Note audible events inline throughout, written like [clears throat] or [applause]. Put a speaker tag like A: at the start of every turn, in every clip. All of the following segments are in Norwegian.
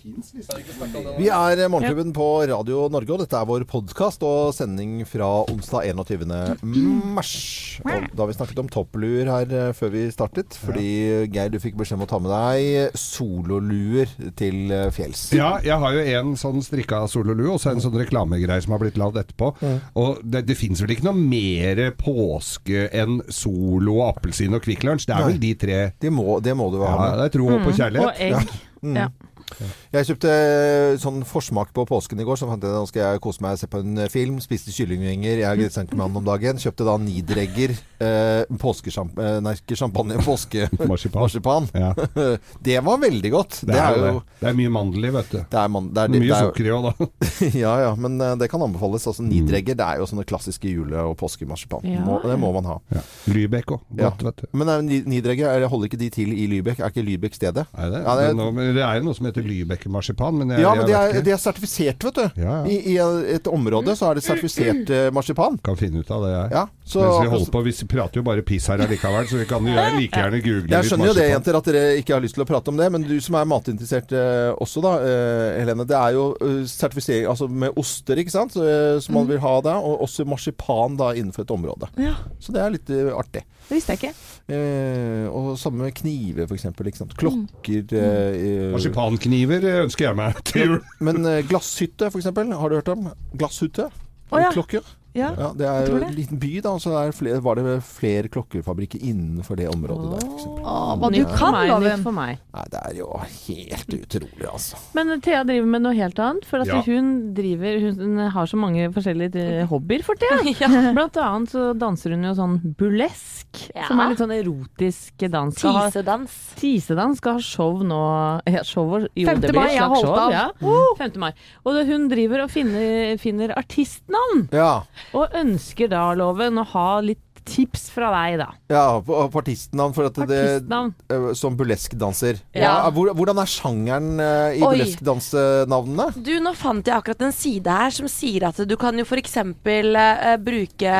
A: Fins liste.
B: Vi er Morgenklubben på Radio Norge, og dette er vår podkast og sending fra onsdag 21. mars. Og da har vi snakket om toppluer her eh, før vi startet, fordi Geir, du fikk beskjed om å ta med deg sololuer til eh, fjells.
C: Ja, jeg har jo en sånn strikka sololue, og så en sånn reklamegreie som har blitt lagd etterpå. Og det, det fins vel ikke noe mer påske enn Solo, appelsin og Kvikk Lunsj? Det er vel de tre
B: Det må, det må du ha
C: ja,
B: med.
C: det er tro, håp og
D: Mm. Og
C: kjærlighet.
D: egg.
B: Mm.
D: Ja.
B: Jeg kjøpte sånn forsmak på påsken i går, så fant jeg nå skal jeg kose meg og se på en eh, film. Spiste kyllingvinger, jeg
C: Mm.
B: er gressankermann om dagen. Kjøpte da Niederegger eh, påskesjamp- eh, nei, ikke champagne,
C: [laughs] Marsipan.
B: påskemarsipan.
C: Ja.
B: [laughs] Det var veldig godt.
C: Det, er jo, det. det er mye mandel i, vet du.
B: det er, man, det er,
C: Mye
B: det er,
C: sukker Mm. i òg, da.
B: [laughs] Ja ja, men eh, det kan anbefales. Altså, Nidregger det er jo sånne klassiske jule- og påskemarsipan.
D: Ja.
B: Må, det må man ha.
C: Ja. Lybekk òg. Godt, vet du.
B: Men eh, ni- Nidregger, er- holder ikke de til i Lybekk? Er ikke Lybekk stedet?
C: Er det?
B: Ja, det er-
C: Men nå- men det er jo noe som heter Lybekke-marsipan, men jeg,
B: Ja, men de
C: jeg vet
B: er,
C: ikke.
B: de er sertifisert, vet du.
C: Ja, ja.
B: I, I et område så er det sertifisert eh, marsipan.
C: Kan finne ut av det, jeg.
B: Ja, så
C: Mens vi holder på, vi prater jo bare piss her allikevel, så vi kan jo like gjerne google
B: Jeg
C: litt
B: skjønner jo det,
C: marsipan.
B: jenter, at dere ikke har lyst til å prate om det. Men du som er matinteressert eh, også, da, eh, Helene. Det er jo eh, sertifisering altså med oster, ikke sant, så, eh, som man vil ha da. Og også marsipan da innenfor et område.
D: ja.
B: Så det er litt eh, artig.
D: Det visste jeg ikke.
B: Eh, og samme med kniver, f.eks.
D: Mm.
B: Klokker eh, eh,
C: Marsipankniver eh, ønsker jeg meg [laughs] til jul.
B: Men eh, glasshytte, f.eks. Har du hørt om? Glasshytte?
D: Å, ja.
B: Klokker.
D: Ja.
B: Ja, det
D: jeg
B: er
D: tror
B: jo en
D: det.
B: liten by, da, og så er det flere, var det flere klokkerfabrikker innenfor det området der. For eksempel.
D: Hva
E: du kan,
D: meg,
E: da,
D: nytt
E: venn.
D: for meg.
B: Nei, det er jo helt
D: Mm.
B: utrolig, altså.
D: Men Thea driver med noe helt annet. For at
C: Ja.
D: hun, driver, hun har så mange forskjellige eh, hobbyer for [laughs] tida. Blant annet så danser hun jo sånn burlesk,
E: Ja.
D: som er litt sånn erotisk dans. Skal ha-
E: Tisedans.
D: Tisedans skal ha show nå ja, show, og- jo,
E: 5.
D: det blir et
E: mai, jeg
D: slags
E: holdt
D: show,
E: av.
D: Ja. 5. mai. Og det- hun driver og finner, finner artistnavn,
B: Ja.
D: og ønsker da, Loven, å ha litt tips fra deg, da.
B: ja på, på artistnavn. For at det,
D: Artistnavn.
B: eh, som burleskdanser.
E: Ja.
B: Hvor, hvordan er sjangeren eh, i
E: Oi.
B: burleskdansenavnene?
E: Du, nå fant jeg akkurat en side her som sier at du kan jo f.eks. Uh, bruke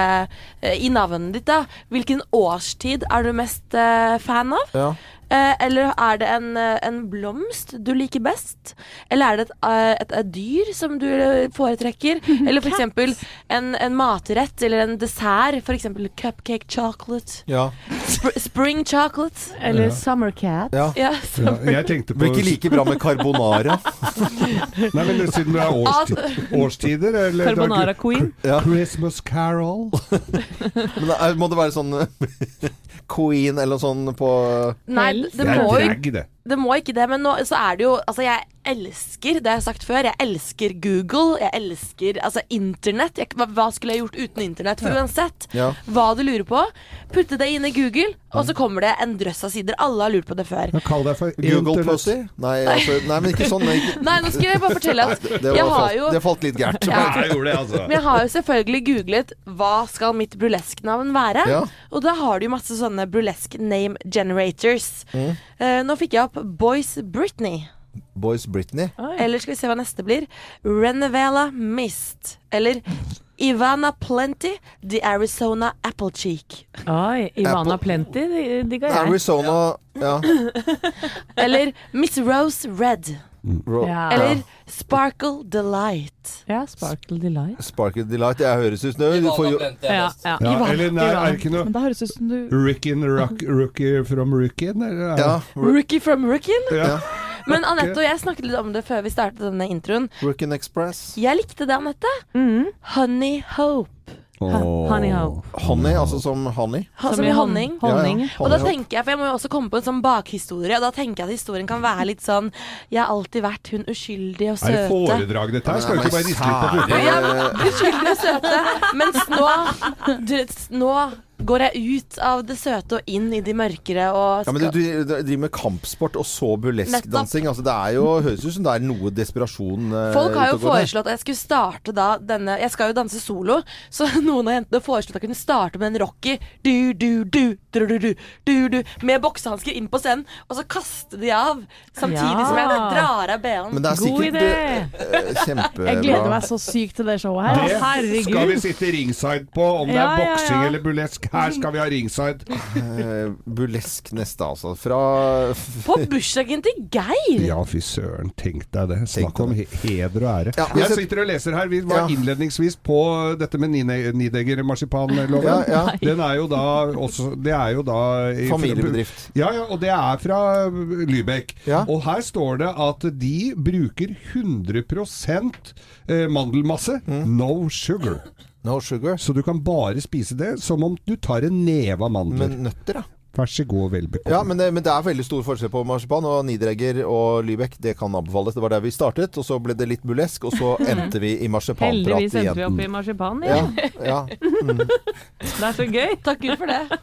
E: eh, i navnet ditt, da. Hvilken årstid er du mest eh, fan av?
B: Ja.
E: Eh, eller er det en, eh, en blomst du liker best? Eller er det et, eh, et, et dyr som du eh, foretrekker? Eller f.eks. En, en matrett eller en dessert. F.eks. cupcake chocolate.
B: ja.
E: Sp spring chocolate.
D: Eller Summer Cat.
B: ja.
E: Ja,
C: Ja, jeg tenkte på
B: Blir ikke like bra med carbonara.
C: Nei, men Siden
B: [laughs]
C: det er årstid, årstider eller
D: Carbonara Queen.
B: Ja.
C: Christmas Carol.
B: Men eh, må det være sånn [laughs] Queen eller noe sånn på
E: Nei,
D: Helst.
E: det
C: Det er
E: må jo
C: drag, det.
E: Det må ikke det, men nå så er det jo Altså, jeg elsker, det har jeg sagt før, jeg elsker Google, jeg elsker altså internett. Jeg, hva, hva skulle jeg gjort uten internett? For uansett
B: Ja.
E: hva du lurer på, putte det inn i Google, og så kommer det en drøss av sider. Alle har lurt på det før.
C: Men Kall deg for
B: Google
C: Internet-
B: Pussy? Nei, altså, nei, men ikke sånn. men
E: [laughs]
B: Ikke,
E: Nei, nå skal jeg bare fortelle at
B: [laughs] det, det,
E: jeg
B: var,
E: har
B: falt,
E: jo
B: det falt litt gærent.
C: Ja,
E: Ja.
C: jeg gjorde det, altså.
E: men jeg har jo selvfølgelig googlet 'hva skal mitt burlesknavn være'?
B: Ja.
E: Og da har du jo masse sånne burlesk name generators.
B: Mm.
E: Eh, nå fikk jeg opp Boys Britney.
B: Boys Britney.
E: Eller skal vi se hva neste blir. Renevela Mist. Eller Ivana Plenty, The Arizona Applecheek.
D: Oi, Ivana Plenty de- digga jeg.
B: Arizona Ja.
E: Eller Miss Rose Red.
B: Ro-
D: Ja.
E: Eller Sparkle Delight.
D: Ja, Sparkle Delight.
B: Sparkle Delight. Det høres ut som det- du får jo-
D: Ja, ja.
C: Ja, eller nei, er det ikke noe
E: Men da høres det ut som du
C: Rickin Rock Rookie from Rickin? Eller?
B: Ja. Ro-
E: Rookie from rookien.
C: Ja.
E: Men Anette og jeg snakket litt om det før vi startet denne introen.
B: Rookin Express.
E: Jeg likte det, Anette. Honey Hope.
D: Honey Ho.
B: Honey, altså som honey.
E: Ha, som i honning.
B: Ja, ja.
D: honning.
E: Og da
B: Honey.
E: tenker jeg, for jeg må jo også komme på en sånn bakhistorie, og da tenker jeg at historien kan være litt sånn Jeg har alltid vært hun uskyldige og
C: Er det
E: søte.
C: foredrag dette her? Skal du ikke bare riste litt på
B: Sære-
C: puppene?
E: Uskyldige og søte. Mens nå, du, vet, nå går jeg ut av det søte og inn i de mørkere og
B: Ja, men du,
E: skal-
B: du du driver med kampsport og så burleskdansing. Altså, det er jo, høres ut som det er noe desperasjon eh,
E: Folk har
B: ute
E: jo
B: og går der.
E: foreslått at jeg skulle starte da denne Jeg skal jo danse solo, så [laughs] noen av jentene foreslo at jeg kunne starte med en rocky du, du, du, du, du, du, du, du, med boksehansker inn på scenen, og så kaste de av samtidig
D: Ja.
E: som jeg drar av BH-en.
B: Men det er
D: God
B: sikkert eh,
D: idé!
B: eh, kjempebra.
E: Jeg gleder
D: meg så sykt til det showet
C: Det skal
D: Herregud.
C: vi sitte ringside på, om det
D: Ja,
C: er
D: ja,
C: boksing
D: ja.
C: eller burlesk Her skal vi ha ringside!
B: Eh, burlesk neste, altså. Fra
E: På bursdagen til Geir!
C: Ja, fy søren. Tenk deg det.
B: Tenk
C: Snakk om he- heder og ære.
B: Ja, men
C: jeg
B: så-
C: sitter og leser her. Vi var
B: Ja.
C: innledningsvis på dette med nine- nideggermarsipanloven.
B: Ja, ja.
C: Den er jo da også Det er jo da i-
B: familiebedrift.
C: Ja, ja, og det er fra Lybekk.
B: Ja.
C: Og her står det at de bruker 100 eh, mandelmasse,
B: Mm.
C: no sugar.
B: No sugar.
C: Så du kan bare spise det som om du tar en neve av mandler.
B: Men nøtter, Mm. da.
C: Vær så god, vel
B: Ja,
C: bekomme.
B: men det, men det er veldig stor forskjell på marsipan og Nidregger og Lybekk. Det kan anbefales. Det var der vi startet, og så ble det litt burlesk, og
D: [laughs]
B: så endte vi i marsipanprat
D: Heldigvis endte
B: igjen.
D: vi opp i marsipan. Ja.
B: Ja, ja.
D: Det er så gøy.
E: Takk Gud for det.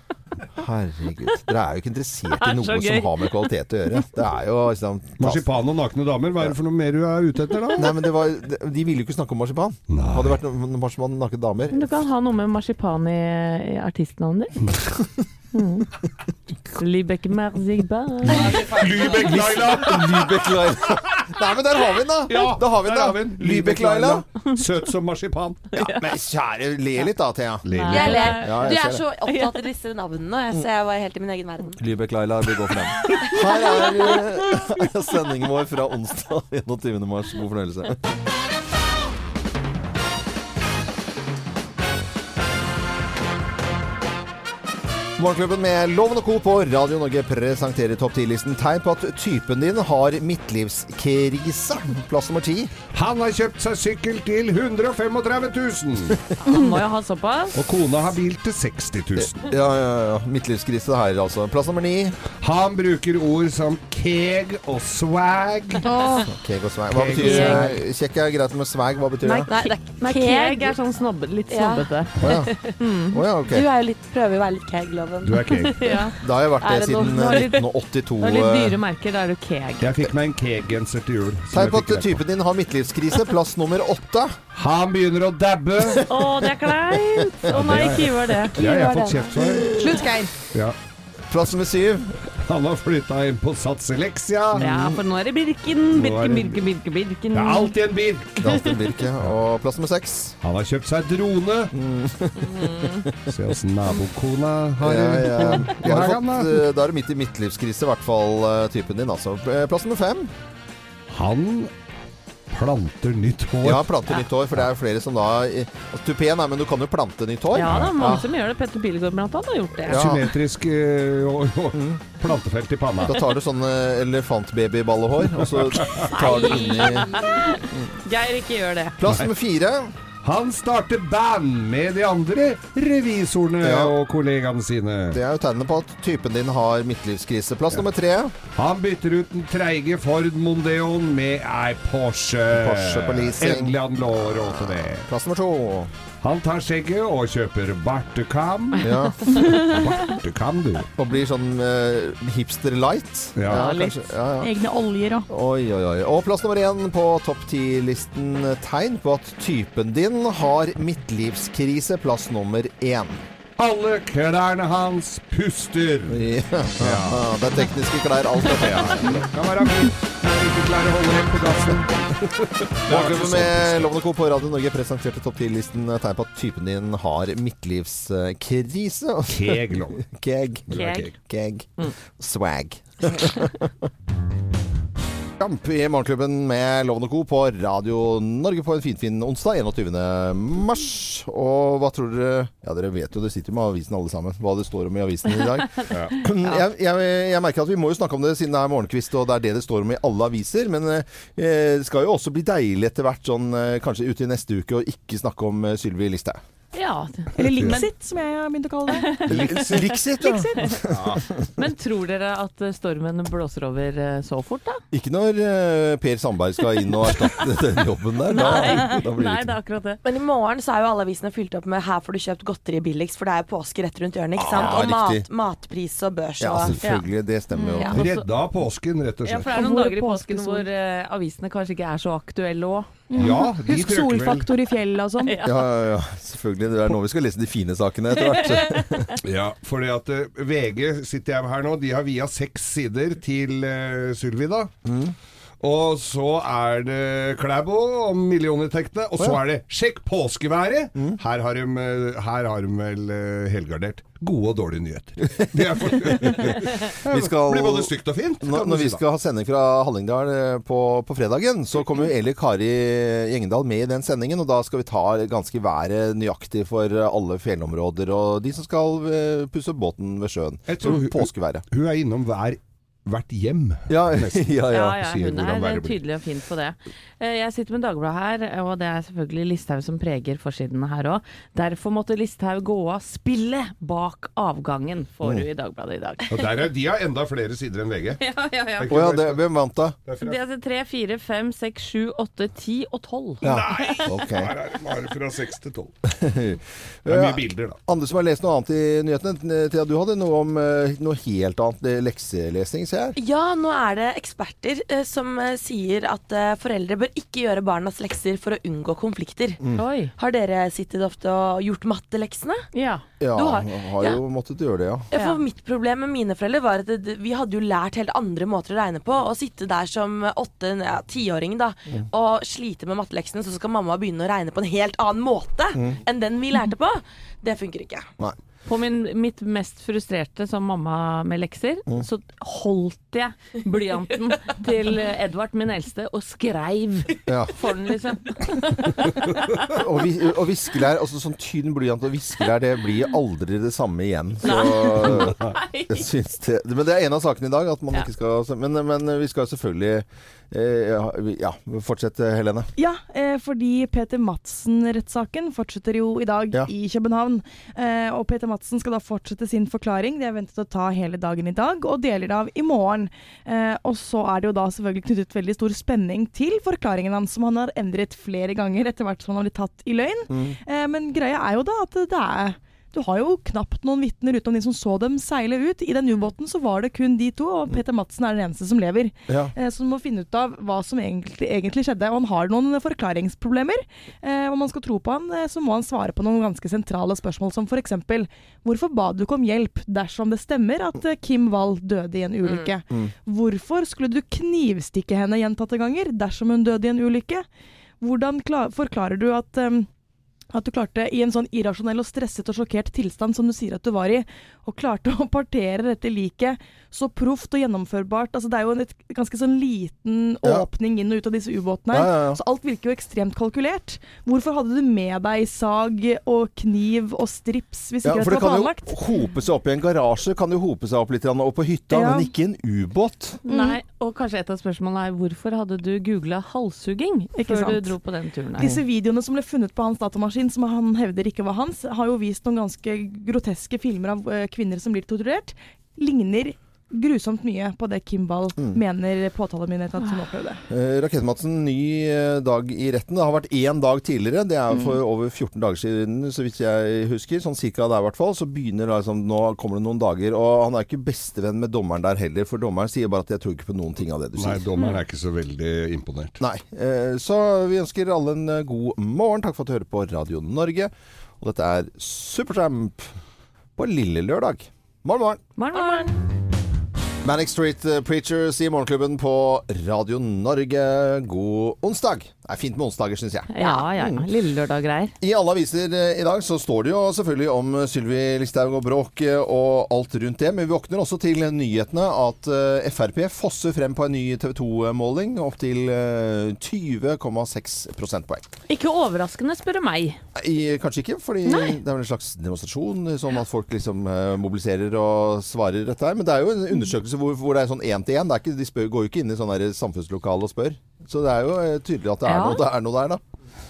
B: Herregud. Dere er jo ikke interessert i
D: er så
B: noe som
D: gøy.
B: har med kvalitet å gjøre. Det er jo liksom
C: Marsipan og nakne damer, hva er det for noe mer du er ute etter da?
B: Nei, men det var, De ville jo ikke snakke om marsipan.
C: Nei.
B: Hadde det vært noe- marsipan nakne damer
D: Men du kan ha noe med marsipan i, i artistnavnet ditt. Mm. Lübeck Marzipan.
C: Lybekk, Laila!
B: Lybekk-Laila. [laughs] Nei, men der har vi den, da!
C: Ja,
B: da har vi
C: der har vi
B: den,
C: den.
B: da. Lybekk-Laila.
C: [laughs] Søt som marsipan.
E: [laughs]
B: Ja, men kjære, le litt da, Thea.
E: Jeg ler.
B: Ja, jeg
E: Du
B: ser
E: er
B: det.
E: så opptatt av disse navnene, og jeg, så jeg var helt i min egen verden.
B: Lybekk-Laila, vi går for den. [laughs] Her er eh, [laughs] sendingen vår fra onsdag [laughs] 21. mars. God fornøyelse. Morgenklubben med Loven og Co. på Radio Norge presenterer topp 10-listen tegn på at typen din har midtlivskrise. Plass nummer ti.
C: Han har kjøpt seg sykkel til 135
E: [laughs]
C: 000,
D: Han må jo ha såpass.
C: og kona har bil til 60 000.
B: Ja, ja, ja. Midtlivskrise her, altså. Plass nummer ni.
C: Han bruker ord som keg og swag.
B: Keg og swag. Hva
C: Keg og
B: betyr eh, Kjekk er greit, men swag, hva betyr det?
E: Nei, det
D: Nei,
E: er
D: keg
E: keg.
D: er sånn snobbe, litt
E: Ja.
D: snobbete.
B: Å ja. Å ja, ok.
E: Du er jo litt, prøver å være litt keg-loven.
C: Du er keg.
D: Ja.
B: Da har jeg vært
E: Er
B: det
E: det noe-
B: siden
D: nå er det-
B: eh, 1982.
D: Det er litt
B: eh,
D: dyre merker, da er du keg.
C: Jeg fikk meg en keg-genser til jul. som
B: Tegn
C: jeg
B: på
C: fikk
B: at
C: rett på.
B: typen din har midtlivskrise. Plass nummer åtte.
C: Han begynner å
E: [laughs]
C: dabbe.
D: Å, det er kleint! Å nei, ikke gjør det.
C: Ja, jeg har
E: gjør
C: fått
E: det.
C: kjeft for det.
E: Slutt, Geir.
C: Ja.
B: Plass nummer syv.
C: Han har flytta inn på Sats Elixia.
D: Ja, for nå er det Birken.
C: Mm. Nå er
D: Birken,
C: det-
D: Birken, Birken. birken.
C: Det er alltid en Birk.
B: Det er alltid en Birke. Og plass nummer seks.
C: Han har kjøpt seg drone. Se åssen nabokona har
B: Mm. Ja,
C: det.
B: ja. Da [laughs] har du
C: Hagan,
B: fått,
C: da.
B: eh, da er du midt i midtlivskrise, i hvert fall eh, typen din. Altså. Eh, Plass nummer fem.
C: Han planter nytt hår.
B: eh, Ja, plante nytt hår, for det er jo flere som da eh, altså, Tupé, nei, men du kan jo plante nytt hår.
D: Ja, det er mange
B: Ja.
D: som gjør det. Petter Pilegård blant annet har gjort det.
B: Ja. Mm.
C: Symmetrisk eh, og- og plantefelt i panna.
B: Da tar du sånn eh, elefantbabyballehår, og så tar du inn i
D: Geir, ikke gjør det.
B: Plass nummer fire.
C: Han starter band med de andre revisorene
B: Ja.
C: og kollegaene sine.
B: Det er jo tegnene på at typen din har midtlivskrise. Plass nummer tre.
C: Han bytter ut den treige Ford Mondeon med ei Porsche.
B: Porsche på leasing.
C: Endelig han lå råd til det.
B: Plass nummer to.
C: Han tar skjegget og kjøper bartekam.
B: [laughs] Ja.
C: Bartekam, du.
B: Og blir sånn eh, hipster light.
C: Ja,
D: litt.
B: kanskje. Ja, ja.
A: Egne oljer og
B: Oi, oi, oi. Og plass nummer én på topp ti-listen tegn på at typen din har midtlivskrise. Plass nummer én.
C: Alle klærne hans puster.
B: [laughs] Ja.
C: Ja.
B: Det er tekniske klær, alt dette.
C: Ja. Det kan være fint. Når du ikke klarer å holde helt på gassen.
B: Morgenklubben med Lovende Co. på Radio Norge presenterte topp ti-listen tegn på at typen din har midtlivskrise.
C: Keglov.
B: [laughs] Keg.
D: Keg.
B: [laughs] Keg. Swag. [laughs] Kamp i Morgenklubben med Lovende Co. på Radio Norge på en finfin onsdag 21. mars. Og hva tror dere Ja, dere vet jo, dere sitter jo med avisen alle sammen, hva det står om i avisen i dag. jeg, jeg, jeg merker at vi må jo snakke om det siden det er morgenkvist og det er det det står om i alle aviser. Men eh, det skal jo også bli deilig etter hvert, sånn eh, kanskje ute i neste uke, å ikke snakke om eh, Sylvi Listhaug.
D: Ja.
A: Eller Lixit, som jeg har begynt å kalle det.
B: Liksit, ja.
D: Men tror dere at eh, stormen blåser over eh, så fort, da?
B: Ikke når eh, Per Sandberg skal inn og erstatte den jobben der. Da, da blir det
D: Nei, det
B: ikke
D: er akkurat det.
E: Men i morgen så er jo alle avisene fylt opp med 'her får du kjøpt godteri billigst', for det er jo påske rett rundt hjørnet. ikke sant?
B: Ja,
E: Og mat,
B: Ah, riktig.
E: matpris og børs
B: Ja, altså,
E: og
B: selvfølgelig. Det stemmer jo.
E: Ja.
C: Redda påsken, rett og
D: Ja,
C: slett.
D: for det er
A: Og
D: noen
A: hvor
D: dager i påsken
A: påskesol.
D: hvor eh, avisene kanskje ikke er så aktuelle òg.
C: Ja, de trøkker
A: Husk
C: vel.
A: solfaktor i fjellet og
D: [laughs]
A: sånn.
B: Ja, ja, ja, selvfølgelig. Det er nå vi skal lese de fine sakene etter hvert.
C: Ja, fordi at eh,
B: Mm.
C: VG sitter jeg med her nå, de har via seks sider til eh, Sylvi da. Og så er det Klæbo om millioninntektene. Og så er det 'sjekk påskeværet'.
B: Mm.
C: Her, har de, eh, her har de vel eh, helgardert. Gode og dårlige
B: [laughs]
C: nyheter. Det er for,
B: Vi skal-
C: blir både stygt og fint.
B: Når,
C: kan du si
B: når vi
C: da. Mm-hmm.
B: skal ha sending fra Hallingdal eh, på, på fredagen, så kommer jo Eli Kari Gjengedal med i den sendingen. Og da skal vi ta ganske været nøyaktig for alle fjellområder og de som skal eh, pusse båten ved sjøen.
C: Jeg tror hun-
B: Påskeværet.
C: Hun er innom hver, hvert hjem.
B: [laughs] Ja, ja, ja.
D: Ja, ja,
C: sier
D: hun
C: hvordan
D: er
C: været blir.
D: tydelig og fin på det. Eh, Jeg sitter med Dagbladet her, og det er selvfølgelig Listhaug som preger forsiden her òg. Derfor måtte Listhaug gå av spillet bak avgangen, får
C: Mm.
D: du i Dagbladet i dag.
C: Og der er, de har enda flere sider enn VG.
D: [laughs] Ja, ja, ja.
B: Å ja, det, hvem vant da?
C: Det er fra-
D: Det er altså 3, 4, 5, 6, 7, 8, 10 og 12.
B: Ja. Ok.
C: Her er det bare fra 6 til
B: [laughs]
C: 12. Det er
B: Ja.
C: mye bilder, da.
B: Andre som har lest noe annet i nyhetene? Thea, du hadde noe om eh, noe helt annet eh, lekselesning, ser jeg her.
E: Ja, nå er det eksperter eh, som eh, sier at eh, foreldre bør ikke gjøre barnas lekser for å unngå konflikter.
B: Mm.
D: Oi.
E: Har dere sittet ofte og gjort matteleksene?
D: Ja.
B: Ja,
E: Du har-
B: har, har jo måttet gjøre det, ja.
E: Ja.
D: Ja.
E: For mitt problem med mine foreldre var at det- vi hadde jo lært helt andre måter å regne på. Å sitte der som eh, åtte, ja, tiåring da, og slite med matteleksene, så skal mamma begynne å regne på en helt annen måte enn den vi lærte på. Det funker ikke.
B: Nei.
D: På min, mitt mest frustrerte som mamma med lekser,
B: Mm.
D: så holdt jeg
B: [laughs]
D: blyanten til Edvard, min eldste, og skreiv
B: Ja.
D: for den, liksom.
B: Og, vi, og viskelær, altså sånn tynn blyant og viskelær, det blir aldri det samme igjen. Så jeg syns det Men det er en av sakene i dag, at man
D: Ja.
B: ikke skal Men, men vi skal selvfølgelig eh, ja, vi- Ja, fortsette, Helene.
A: Ja, eh, fordi Peter Madsen-rettssaken fortsetter jo i dag
B: Ja.
A: i København. Eh, og Peter Madsen skal da fortsette sin forklaring. Det er ventet å ta hele dagen i dag, og deler av i morgen. Eh, og så er det jo da selvfølgelig knyttet veldig stor spenning til forklaringen hans, som han har endret flere ganger etter hvert som han har blitt tatt i løgn. Eh, men greia er jo da at det er du har jo knapt noen vitner utenom de som så dem seile ut. I den ubåten så var det kun de to, og Peter Madsen er den eneste som lever.
B: Ja.
A: Eh, Så man må finne ut av hva som egentlig, egentlig skjedde. Og han har noen forklaringsproblemer. Eh, om man skal tro på han, eh, så må han svare på noen ganske sentrale spørsmål, som f.eks.: Hvorfor ba du ikke om hjelp dersom det stemmer at eh, Kim Wall døde i en ulykke? Hvorfor skulle du knivstikke henne gjentatte ganger dersom hun døde i en ulykke? Hvordan kla- forklarer du at eh, at du klarte, i en sånn irrasjonell og stresset og sjokkert tilstand som du sier at du var i, og klarte [laughs] å partere dette liket så proft og gjennomførbart. Altså, det er jo en et, ganske sånn liten
B: Ja.
A: åpning inn og ut av disse ubåtene.
B: Ja,
A: her.
B: ja, ja.
A: Så alt virker jo ekstremt kalkulert. Hvorfor hadde du med deg sag og kniv og strips hvis
B: Ja,
A: ikke
B: for det
A: dette
B: kan jo
A: var planlagt?
B: hope seg opp i en garasje, kan jo hope seg opp litt, grann, og på hytta,
A: Ja.
B: men ikke i en ubåt.
D: Nei, og kanskje et av spørsmålene er hvorfor hadde du googla halshugging
A: Ikke
D: før du
A: sant?
D: dro på den turen her?
A: Disse videoene som ble funnet på hans datamaskin, som han hevder ikke var hans, har jo vist noen ganske groteske filmer av eh, kvinner som blir torturert. Ligner grusomt mye på det Kim Wall mener påtalemyndigheten at hun opplevde.
B: Eh, Rakett-Madsen, ny eh, dag i retten. Det har vært én dag tidligere. Det er for over 14 dager siden, så vidt jeg husker. Sånn cirka der, i hvert fall. Så begynner da liksom Nå kommer det noen dager. Og han er ikke bestevenn med dommeren der heller, for dommeren sier bare at 'jeg tror ikke på noen ting av det du
C: Nei,
B: sier'. Mm.
C: dommeren er ikke så veldig imponert.
B: Nei. Eh, Så vi ønsker alle en eh, god morgen. Takk for at du hører på Radio Norge. Og dette er Supertramp på lille lørdag. Morgen, morgen.
D: Morgen, morgen.
B: Manic Street eh, Preachers i Morgenklubben på Radio Norge. God onsdag. Det er fint med onsdager, syns jeg.
D: Ja, ja, ja. Lille lørdag-greier.
B: I alle aviser eh, i dag så står det jo selvfølgelig om eh, Sylvi Listhaug og bråk eh, og alt rundt det, men vi våkner også til nyhetene at eh, Frp fosser frem på en ny TV 2-måling, opptil eh, 20,6 prosentpoeng.
D: Ikke overraskende, spør du meg.
B: I, kanskje ikke, fordi det er vel en slags demonstrasjon, sånn at folk liksom eh, mobiliserer og svarer dette her. Men det er jo en undersøkelse hvor, hvor det er sånn én til én. Det er ikke- De spør, går jo ikke inn i sånn der samfunnslokale og spør. Så det er jo eh, tydelig at det er,
D: Ja.
B: noe, det er noe der, da.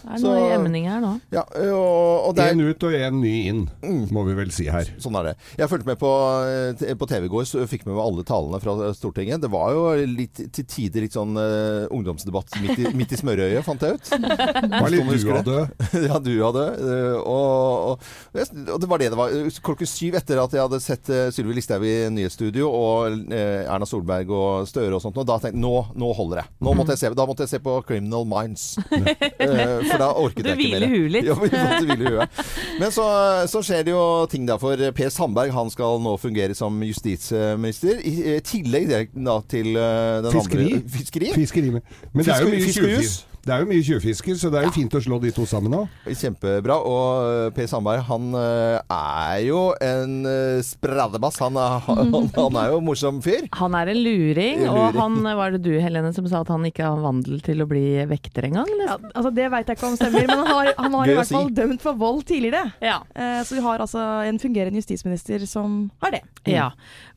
D: Det er
B: Så-
D: noe i emning her nå.
B: Ja, eh, og, og det er, Mm.
C: Én ut og én ny inn, må vi vel si her.
B: Sånn er det. Jeg fulgte med på, eh, t- på TV i går, så jeg fikk med meg alle talene fra Stortinget. Det var jo litt, til tider litt sånn eh, ungdomsdebatt midt i, midt i smørøyet, fant jeg ut.
C: Hva
B: Sånn
C: litt du
B: husker det.
C: hadde?
B: [laughs] ja, du hadde. eh, og, og, jeg- og det var det det var. Eh, Klokken syv etter at jeg hadde sett eh, Sylvi Listhaug i nyhetsstudio og eh, Erna Solberg
D: [laughs]
B: og Støre og sånt, og da tenkte jeg nå, nå holder jeg. Nå måtte jeg se, da måtte jeg se på Criminal Minds. Eh, eh, for da orket
D: Du
B: jeg ikke mer.
D: hviler huet litt.
B: Ja, vi måtte hvile huet. Men så, så skjer det jo ting da for Per Sandberg. Han skal nå fungere som justisminister. I eh, tillegg det da til eh, den
C: Fiskeri.
B: andre Fiskeri.
C: Fiskeri. med- Men det er jo
B: Fiske-
C: mye
B: fiskehus.
C: tjuvfisker. Det er jo mye tjuvfisker, så det er jo fint å slå de to sammen òg.
B: Kjempebra. Og eh, Per Sandberg, han eh, er jo en eh, spradebass. Han er, [laughs] han, han er jo en morsom fyr.
D: Han er en luring,
B: En
D: og
B: luring.
D: han var det du, Helene, som sa at han ikke har vandel til å bli vekter engang? liksom?
A: Ja,
D: nesten?
A: altså Det veit jeg ikke om stemmer, men han har, [laughs] han har
B: Gøy
A: i
B: å
A: hvert
B: si.
A: fall dømt for vold tidligere.
D: Ja.
A: Eh, så vi har altså en fungerende justisminister som har det.
D: Ja.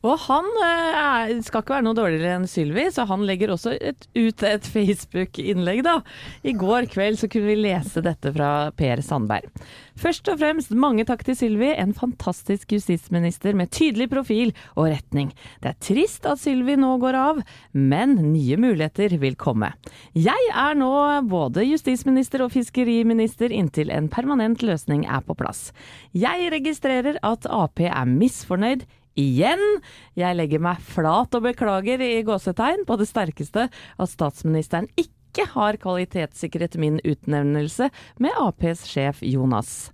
D: Og han eh, er- skal ikke være noe dårligere enn Sylvi, så han legger også et, ut et Facebook-innlegg, da. I går kveld så kunne vi lese dette fra Per Sandberg. Først og fremst mange takk til Sylvi, en fantastisk justisminister med tydelig profil og retning. Det er trist at Sylvi nå går av, men nye muligheter vil komme. Jeg er nå både justisminister og fiskeriminister inntil en permanent løsning er på plass. Jeg registrerer at Ap er misfornøyd. Igjen! Jeg legger meg flat og beklager i gåsetegn på det sterkeste at statsministeren ikke har kvalitetssikret min utnevnelse med Aps sjef Jonas.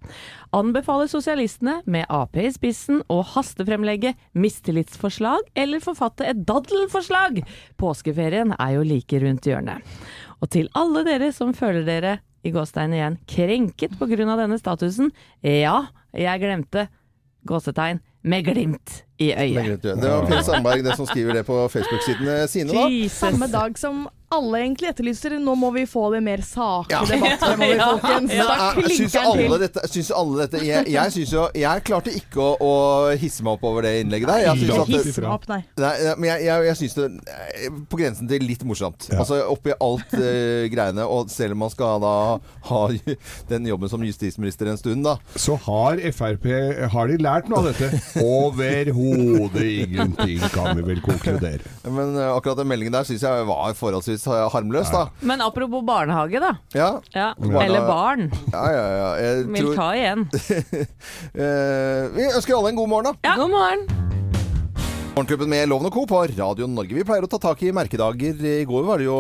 D: Anbefaler sosialistene med Ap i spissen å hastefremlegge mistillitsforslag eller forfatte et daddelforslag. Påskeferien er jo like rundt hjørnet. Og til alle dere som føler dere i gåstein igjen krenket pga. denne statusen, ja, jeg glemte gåsetegn med glimt i øyet.
B: Det var Per Sandberg det som skriver det på Facebook-sidene sine. da
D: Jesus.
A: Samme dag som alle egentlig etterlyser. Nå må vi få det mer saklig
B: Ja.
A: debatt [laughs] fremover, folkens.
B: Men
A: Da
B: jeg- syns
A: klinker den
B: alle
A: til.
B: dette, syns alle dette Jeg, jeg syns jo Jeg klarte ikke å, å hisse meg opp over det innlegget der. Jeg syns
C: Langt
B: at det,
A: Hiss meg opp, nei.
B: Nei, nei, men jeg, jeg, jeg syns det er på grensen til litt morsomt. Altså Oppi alt eh, greiene, og selv om man skal da ha [laughs] den jobben som justisminister en stund, da.
C: Så har Frp Har de lært noe av
D: [laughs]
C: dette? Overhodet ingenting, kan vi vel konkludere.
B: Men eh, akkurat den meldingen der syns jeg var forholdsvis eh, harmløs, da.
D: Men apropos barnehage, da.
B: Ja,
D: Ja.
B: Barna-
D: Eller barn.
B: ja, ja. ja. Jeg
D: Vil
B: tror
D: ta igjen.
B: [laughs] Eh, Vi ønsker alle en god morgen, da.
D: God morgen.
B: Morgenklubben med Loven og Co. på Radio Norge. Vi pleier å ta tak i merkedager. I går var det jo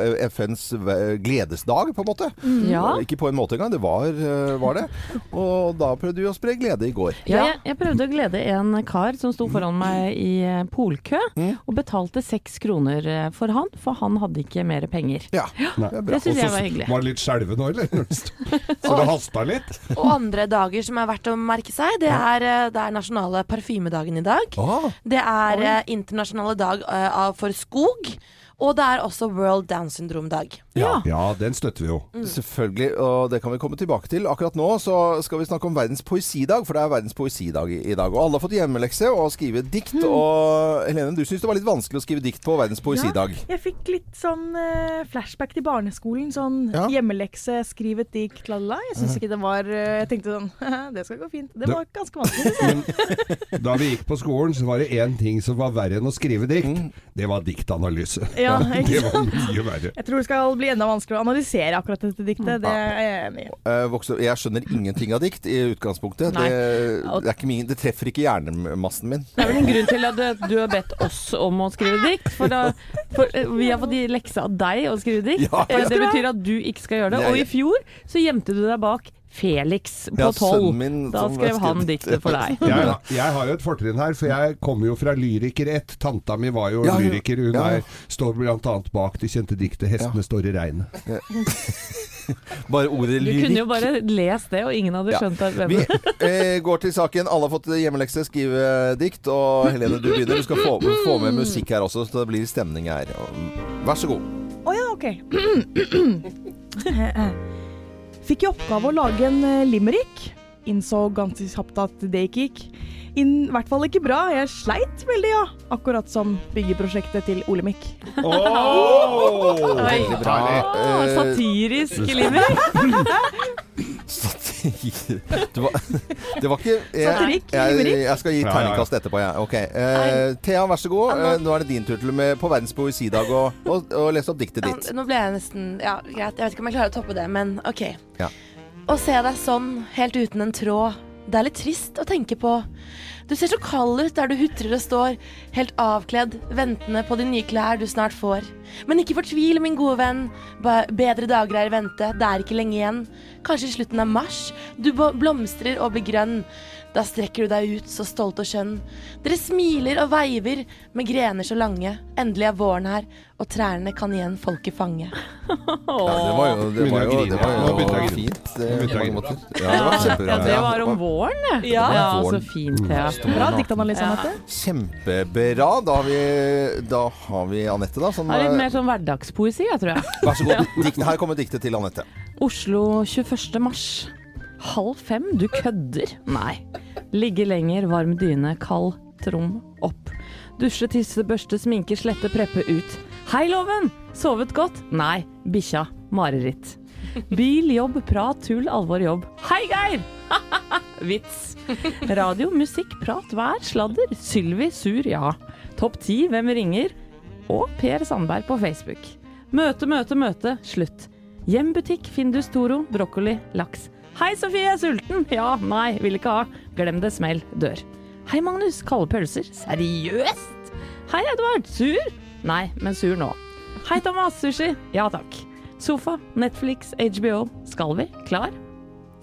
B: eh, FNs ve- gledesdag, på en måte.
D: Mm. Ja.
B: Ikke på en måte engang, det var, eh, var det. Og da prøvde vi å spre glede i går.
D: Ja, jeg, jeg prøvde å glede en kar som sto foran meg i eh, polkø,
B: Mm.
D: og betalte seks kroner eh, for han, for han hadde ikke mer penger.
B: Ja, det er bra.
D: Det syns jeg var
C: Og
D: hyggelig.
C: så var det litt skjelven nå,
D: [laughs]
C: eller? Når det sto- Så det hasta litt?
E: Og andre dager som er verdt å merke seg, det er, eh, det er nasjonale parfymedagen i dag.
B: Ah,
E: Det er eh, internasjonale dag eh, av- for skog. Og det er også World Down Syndrome-dag.
C: Ja. ja, den støtter vi jo.
D: Mm.
B: selvfølgelig, og det kan vi komme tilbake til. Akkurat nå så skal vi snakke om verdens poesidag, for det er verdens poesidag i i dag. Og alle har fått hjemmelekse og skrive dikt.
D: Hmm.
B: Og Helene, du syns det var litt vanskelig å skrive dikt på verdens poesidag.
A: Ja, jeg fikk litt sånn eh, flashback til barneskolen. Sånn
B: Ja.
A: hjemmelekse, skriv et dikt, la la. la. Jeg syns ikke det var eh, Jeg tenkte sånn [laughs] Det skal gå fint. Det
C: Det-
A: var ganske vanskelig.
C: Da vi gikk på skolen, så var det én ting som var verre enn å skrive
B: Mm.
C: dikt. Det var diktanalyse.
A: Ja,
C: Det
A: ikke
C: var mye verre.
A: Jeg tror det skal bli enda vanskeligere å analysere akkurat dette diktet. Det er jeg enig i.
B: Eh, vokser- Jeg skjønner ingenting av dikt i utgangspunktet.
D: Nei.
B: Det, det, er ikke min, det treffer ikke hjernemassen min.
D: Det er vel en grunn til at du, du har bedt oss om å skrive dikt. For, da, for eh, vi har fått i lekse av deg å skrive dikt.
B: Ja.
D: Eh, Det betyr at du ikke skal gjøre det.
B: Nei.
D: Og i fjor så gjemte du deg bak Felix på
B: Ja, sønnen
D: tolv.
B: min
D: Da
B: som
D: skrev
B: skrev
D: han
B: dikt.
D: diktet for deg.
B: [laughs]
C: Jeg, jeg har jo et fortrinn her, for jeg kommer jo fra lyriker 1. Tanta mi var jo
B: Ja, ja.
C: lyriker. Hun
B: Ja, ja.
C: er, står bl.a. bak det kjente diktet 'Hestene står i regnet'.
B: Bare ordet
D: Du kunne jo
B: lyrikk.
D: bare lest det, og ingen hadde
B: Ja.
D: skjønt at hvem
B: Vi eh, går til saken. Alle har fått hjemmelekse, skrive dikt. Og Helene, du begynner. Du skal få, få med musikk her også, så det blir stemning her. Og Vær så god.
A: Å ja, OK. [clears throat] Fikk i oppgave å lage en eh, limerick. Innså ganske kjapt at det ikke gikk. I hvert fall ikke bra. Jeg sleit veldig, ja. Akkurat som byggeprosjektet til Olemic.
B: Veldig bra.
D: Åh,
B: Eh,
D: satirisk limer.
B: satir. Det var, det var ikke jeg,
A: Satirikk,
B: jeg,
A: limerick.
B: jeg skal gi
C: Ja, ja, ja.
B: terningkast etterpå, jeg. Ok. Eh, Thea, vær så god. Eh, nå er det din tur til med på verdens poesidag å å- å lese opp diktet
E: Ja,
B: ditt.
E: nå ble jeg nesten Ja, greit. Jeg vet ikke om jeg klarer å toppe det, men OK.
B: Ja.
E: Å se deg sånn, helt uten en tråd. Det er litt trist å tenke på. Du ser så kald ut der du hutrer og står, helt avkledd, ventende på de nye klær du snart får. Men ikke fortvil, min gode venn. Ba bedre dager er i vente, det er ikke lenge igjen. Kanskje i slutten av mars. Du bo- blomstrer og blir grønn. Da strekker du deg ut, så stolt og skjønn. Dere smiler og veiver med grener så lange. Endelig er våren her, og trærne kan igjen folket fange.
B: Ja, det var jo, det
C: Begynner
B: var
C: å
B: jo,
C: grine,
B: det var
C: ja. Nå begynte jeg
B: jo
C: å grine.
B: fint eh,
C: Begynte jeg
B: på
C: å
B: mange
C: grine.
B: måter. Ja, det var kjempebra.
D: Ja, det var om
B: Ja.
D: våren, det.
E: Ja.
D: ja
B: Våren.
D: så fint, Thea.
A: Bra diktanalyse, Anette.
B: Kjempebra. Da har vi, da har vi Anette, da. Som,
D: Det er litt mer
B: eh,
D: sånn hverdagspoesi, jeg tror jeg.
B: vær så god. Dikt, her kommer diktet til Anette.
D: Oslo 21. mars. Halv fem? Du kødder? Nei. Ligge lenger, varm dyne, kald trom opp. Dusje, tisse, børste, sminke, slette, preppe ut. Hei, loven! Sovet godt? Nei. Bikkja. Mareritt. Bil, jobb, prat, tull, alvor, jobb. Hei, Geir! [laughs] Vits. Radio, musikk, prat, vær, sladder. Sylvi, sur, ja. Topp ti, hvem ringer? Og Per Sandberg på Facebook. Møte, møte, møte. Slutt. Hjem butikk, Findus Toro, brokkoli, laks. Hei, Sofie, jeg er sulten! Ja, nei, vil ikke ha. Glem det, smell, dør. Hei, Magnus, kalde pølser. Seriøst? Hei, Edvard, sur? Nei, men sur nå. Hei, Thomas, sushi. Ja takk. Sofa, Netflix, HBO. Skal vi? Klar?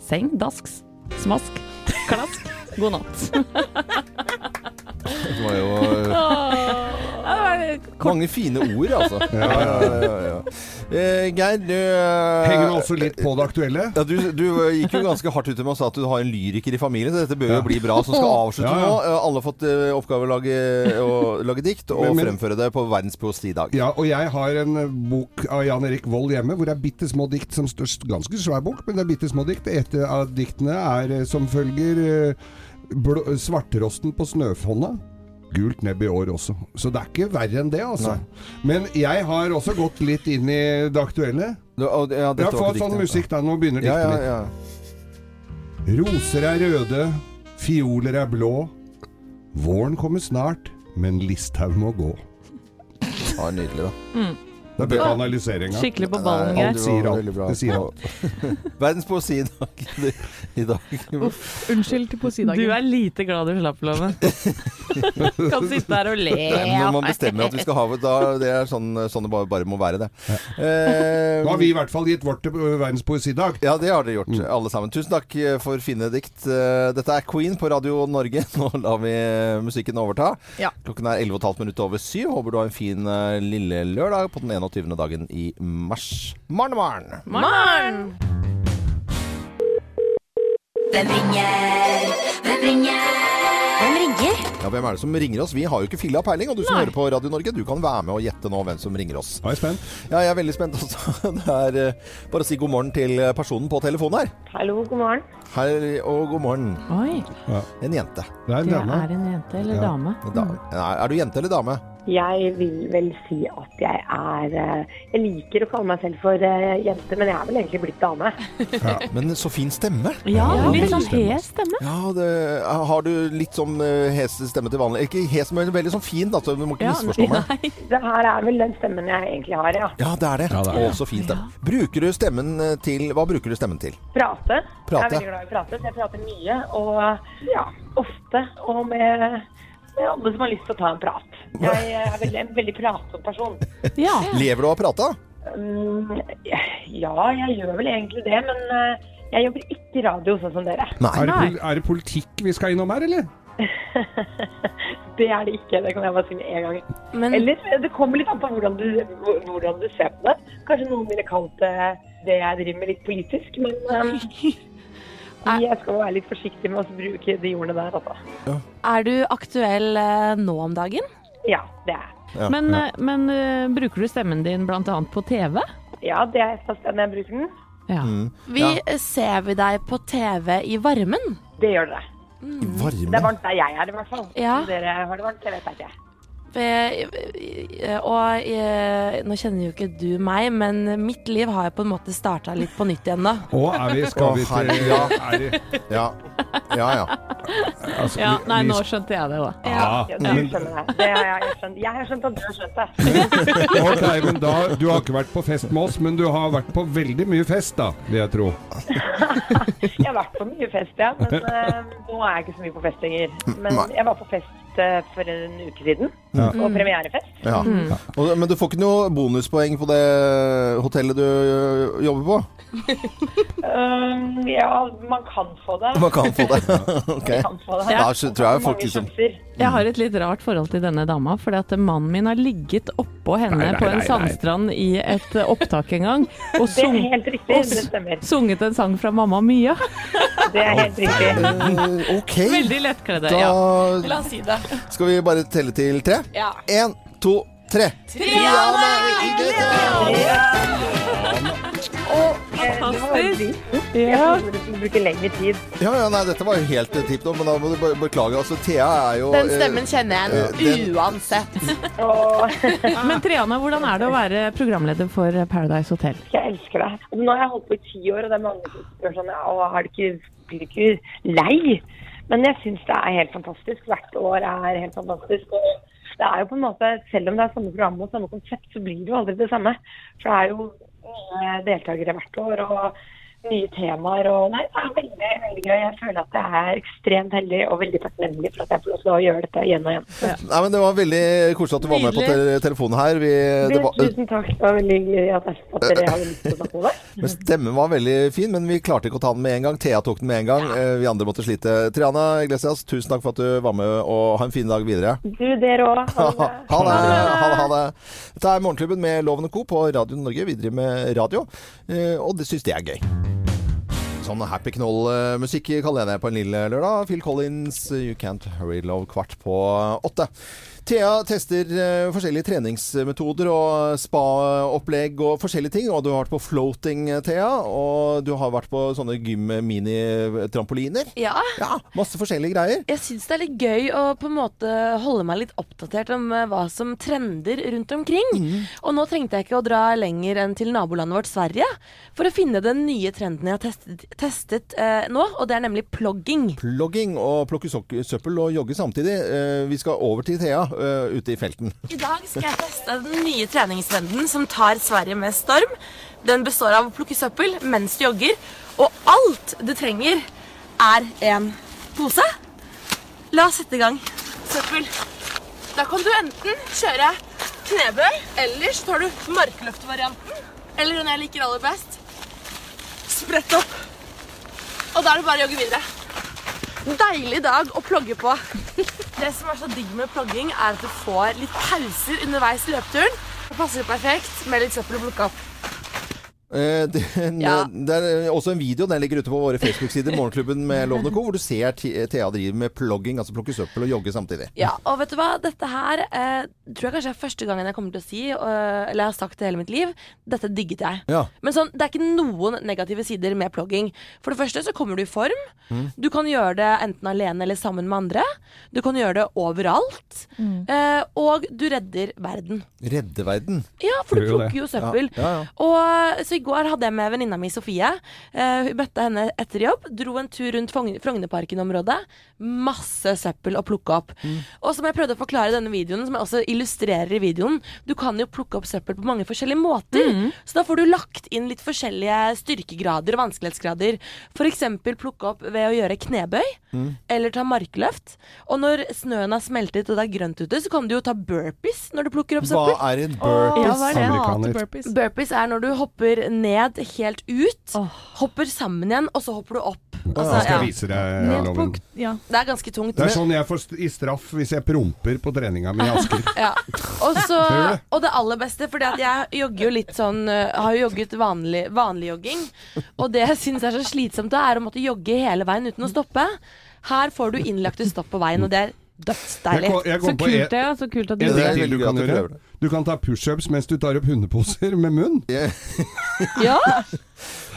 D: Seng, dasks, smask, klask. God natt.
C: [laughs]
B: Det var jo mange fine ord, altså. [laughs] Ja, ja, ja, ja. Eh, Geir, du eh,
C: Henger det også litt på det aktuelle?
B: Ja, du, du gikk jo ganske hardt ut med og sa at du har en lyriker i familien, så dette bør jo
C: Ja.
B: bli bra. Som skal
C: [laughs]
B: avslutte
C: Ja, ja.
B: nå. Eh, Alle har fått eh, oppgave å lage, å lage dikt og
C: Men- men-
B: fremføre det på Verdens poesidag.
C: Ja, og jeg har en eh, bok av Jan Erik Vold hjemme, hvor det er bitte små dikt som størst, Ganske svær bok, men det er bitte små dikt. Et eh, av diktene er eh, som følger eh, blå, Svarterosten på snøfonna. Gult nebb i år også. Så det er ikke verre enn det, altså.
B: Nei.
C: Men jeg har også gått litt inn i det aktuelle.
B: Du, og- ja,
C: Ja,
B: dette var
C: få
B: ikke
C: sånn
B: diktet.
C: musikk, da. Nå begynner
B: Ja,
C: diktet
B: ja,
C: mitt.
B: ja.
C: Roser er røde, fioler er blå. Våren kommer snart, men Listhaug må gå.
B: ja nydelig, da.
C: Det er bedre analysering. ja.
D: Skikkelig på ballen,
B: Nei,
D: Geir.
C: Alt sier alt.
B: Veldig bra.
C: Det sier alt.
B: Verdens poesidag [laughs] i dag.
A: Unnskyld til
D: Du
A: poesidagen.
D: er lite glad du slapp,
C: [laughs]
D: Loven. kan sitte her og le.
B: Nei, men når man bestemmer at vi skal ha det, da det er sånn, sånn det bare, bare må være det. Eh,
C: Nå har vi i hvert fall gitt vårt eh, til ø, Verdens poesidag.
B: ja, det har dere gjort, alle sammen. Tusen takk eh, for fine dikt. Eh, Dette er Queen på Radio Norge. [laughs] Nå lar vi eh, musikken overta.
A: Ja.
B: Klokken er 11,5 minutter over syv. Håper du har en fin eh, lille lørdag på den 21. dagen i mars. Morn, morn!
D: Morn!
F: Hvem ringer? Hvem ringer? Hvem ringer?
B: Ja, hvem er det som ringer oss? Vi har jo ikke filla peiling. Og du som hører på Radio Norge, du kan være med og gjette nå hvem som ringer oss.
C: Da er jeg spent.
B: Ja, jeg er veldig spent også. [laughs] Det er eh, bare å si god morgen til eh, personen på telefonen her.
G: Hallo, god morgen.
B: Hei og god morgen.
D: Oi,
B: En jente.
C: Det er en
D: det
C: dame.
D: er en jente eller
C: Ja.
D: dame.
B: En dame. Nei, er du jente eller dame?
G: Jeg vil vel si at jeg er eh, Jeg liker å kalle meg selv for eh, jente, men jeg er vel egentlig blitt dame.
B: Men så fin stemme.
D: Ja,
C: Ja,
D: litt sånn
C: veldig
D: hes stemme.
B: Ja, det, eh, har du litt sånn eh, hes stemme til vanlig? Ikke hes, men veldig sånn fin, da, så du må ikke
D: Ja,
B: misforstå meg.
D: nei.
G: Det her er vel den stemmen jeg egentlig har, ja.
B: Ja, det er det.
C: Ja, det er det.
B: Å, så fin stemme. Bruker du stemmen eh, til Hva bruker du stemmen til?
G: Prate. Jeg
B: Prate.
G: er veldig glad i å prate, så jeg prater mye og ja, ofte. Og med, med alle som har lyst til å ta en prat. Jeg er veldig, en veldig pratsom person.
D: Ja.
B: Lever du av å prate?
G: Mm, Ja, jeg gjør vel egentlig det, men eh, jeg jobber ikke i radio sånn som dere. [laughs]
B: Nei.
C: Er det, pol er det politikk vi skal innom her, eller?
G: Det er det ikke, det kan jeg bare si med en gang.
E: Men
G: Eller det kommer litt an på hvordan du, hvordan du ser på det. Kanskje noen ville kalt det det jeg driver med litt politisk, men eh, jeg skal være litt forsiktig med å bruke de ordene der, altså.
E: er du aktuell eh, nå om dagen?
G: Ja, det er jeg.
B: Ja.
D: Men, eh, men eh, bruker du stemmen din bl.a. på TV?
G: Ja, det er et av stedene jeg bruker den.
D: Ja.
E: Vi
B: Ja.
E: eh, ser vi deg på TV i varmen.
G: Det gjør dere.
B: I varme?
G: Det er varmt der jeg er, i hvert fall.
E: Ja.
G: Om dere har det varmt, det vet jeg ikke.
E: For jeg, eh, og jeg, nå kjenner jo ikke du meg, men mitt liv har jeg på en måte starta litt på nytt igjen da.
C: Og er vi, skal
B: Å,
C: vi til
B: herre, ja.
C: [laughs] er det-
B: Ja, ja. ja.
C: altså,
D: Ja,
C: vi-
D: nei,
C: vi-
D: nå skjønte jeg det òg.
C: Ja,
G: Ja, du
C: men,
G: skjønner det. det har jeg, skjønt. jeg har skjønt at du har skjønt det.
C: ok, men da, du har ikke vært på fest med oss, men du har vært på veldig mye fest, da, vil jeg tro.
G: Jeg har vært på mye fest, ja. Men eh, nå er jeg ikke så mye på fest lenger. Men
B: Nei.
G: jeg var på fest eh, for en uke siden. Og premierefest.
B: ja.
D: Mm.
B: Og, men du får ikke noe bonuspoeng på det eh, hotellet du ø, jobber på?
G: Um, ja, man kan få det.
B: Man kan få det. [laughs] ok.
G: Man kan få det.
B: Da så tror jeg folk
G: Mange
B: liksom
G: sjanser.
D: Jeg har et litt rart forhold til denne dama, fordi at mannen min har ligget oppå henne
C: Nei, nei,
D: på en
C: nei, nei.
D: sandstrand i et eh, opptak en gang, [laughs] og
G: Det er
D: sung,
G: helt riktig. Det stemmer.
D: sunget en sang fra Mamma Mia.
G: Det er helt riktig.
B: Eh, OK.
D: [laughs] Veldig lettkledde. Ja.
B: Da
E: La oss si det.
B: skal vi bare telle til tre.
E: Ja.
B: Én, to, tre. Triana Iglesias!
D: Fantastisk.
G: Jeg
D: Ja.
G: trodde du skulle bruke lengre tid.
B: Ja, ja, nei, dette var jo helt tipp topp, men da må du bare beklage. Altså, Thea er jo
E: Den
B: eh,
E: stemmen kjenner
B: eh,
E: jeg
B: den-
E: uansett. [laughs]
G: Og
D: Men Triana, hvordan er det å være programleder for Paradise Hotel?
G: jeg elsker deg. Og Nå har jeg holdt på i ti år, og det er mange som spør sånn ja, og er det ikke, blir du ikke lei? Men jeg syns det er helt fantastisk. Hvert år er helt fantastisk. Og det er jo på en måte, selv om det er samme program og samme konsept, så blir det jo aldri det samme. For det er jo nye deltakere hvert år og nye temaer. Og nei, det er veldig, veldig gøy. Jeg føler at jeg er ekstremt heldig og veldig takknemlig for at jeg får lov til å gjøre dette igjen og igjen.
B: Nei, men Det var veldig koselig at du var med på te telefonen her. Vi, det var,
G: Tusen takk. Det var veldig gøy at jeg- at dere hadde lyst til å snakke
B: [laughs]
G: med meg.
B: men stemmen var veldig fin, men vi klarte ikke å ta den med en gang. Thea tok den med en gang. Eh, Vi andre måtte slite. Triana Iglesias, tusen takk for at du var med, og ha en fin dag videre.
G: Du, dere òg.
B: Ha det. Ha det, ha det. Dette er Morgenklubben med Loven og Co. på Radio Norge. Vi driver med radio, eh, og det syns det er gøy. Sånn happy knoll-musikk kaller jeg det på en lille lørdag. Phil Collins, You Can't Hurry Love, kvart på åtte. Thea tester eh, forskjellige treningsmetoder og spaopplegg og forskjellige ting. Og du har vært på floating, eh, Thea. Og du har vært på sånne gym-mini-trampoliner.
E: Ja.
B: Ja, masse forskjellige greier.
E: Jeg syns det er litt gøy å på en måte holde meg litt oppdatert om eh, hva som trender rundt omkring. Og nå trengte jeg ikke å dra lenger enn til nabolandet vårt Sverige for å finne den nye trenden jeg har testet, testet eh, nå, og det er nemlig plogging.
B: Plogging og plukke sok- søppel og jogge samtidig. Eh, vi skal over til Thea eh, ute i felten.
E: I dag skal jeg teste den nye treningstrenden som tar Sverige med storm. Den består av å plukke søppel mens du jogger, og alt du trenger er en pose. La oss sette i gang. Søppel. Da kan du enten kjøre knebøy, eller så tar du markløftvarianten. Eller den jeg liker aller best. Sprett opp. Og da er det bare å jogge videre. Deilig dag å plogge på. [laughs] Det som er så digg med plogging, er at du får litt pauser underveis i løpeturen. Det passer perfekt med litt søppel å plukke opp.
B: Eh,
D: [laughs]
B: det,
E: Ja.
B: det er også en video, den ligger ute på våre Facebook-sider,
D: [laughs]
B: Morgenklubben med Loven og Co, hvor du ser Thi- Thea drive med plogging, altså plukke søppel og jogge samtidig.
E: Ja, og vet du hva? Dette her eh, tror jeg kanskje er første gangen jeg kommer til å si, eh, eller jeg har sagt det hele mitt liv, dette digget jeg.
B: Ja.
E: Men sånn, det er ikke noen negative sider med plogging. For det første så kommer du i form. Du kan gjøre det enten alene eller sammen med andre. Du kan gjøre det overalt. Eh, og du redder verden.
B: Redde verden.
E: Ja, for du
C: Gjør jo det.
E: plukker jo søppel.
B: Ja, ja.
E: Og så i går hadde jeg med venninna mi Sofie. Eh, Hun møtte henne etter jobb. Dro en tur rundt Frogn- Frognerparken-området. Masse søppel å plukke opp.
B: Mm.
E: Og som jeg prøvde å forklare i denne videoen, som jeg også illustrerer i videoen, du kan jo plukke opp søppel på mange forskjellige måter.
B: Mm.
E: Så da får du lagt inn litt forskjellige styrkegrader og vanskelighetsgrader. F.eks. plukke opp ved å gjøre knebøy,
B: Mm.
E: eller ta markløft. Og når snøen har smeltet og det er grønt ute, så kan du jo ta burpees når du plukker opp
B: Hva
E: søppel.
B: er en burpees?
D: Ja, hva er det?
C: Amerikaner.
A: burpees.
E: Burpees er når du hopper ned helt ut,
D: Åh.
E: hopper sammen igjen, og så hopper du opp.
C: Jeg skal
E: Altså, ja.
C: vise deg
A: Ned på,
C: loven.
A: ja.
E: Det er ganske tungt.
C: Det er sånn jeg får st- i straff hvis jeg promper på treninga mi i
D: Ah,
C: Asker.
E: Ja. Og, så,
C: Hører du?
E: og det aller beste, fordi at jeg jogger jo litt sånn øh, Har jo jogget vanlig, vanlig jogging. Og det jeg syns er så slitsomt, da, er å måtte jogge hele veien uten å stoppe. Her får du innlagte stopp på veien, og det er
C: Jeg
E: dødsdeilig.
C: kom, jeg
D: Så
C: kom på
D: kult
C: en,
D: det, ja. Så kult at
C: en
D: du
B: Det er
C: ting til
B: veldig
C: du
B: gøy
C: kan
B: at du prøver
C: gjøre. Du kan ta pushups mens du tar opp hundeposer med munn.
E: Ja,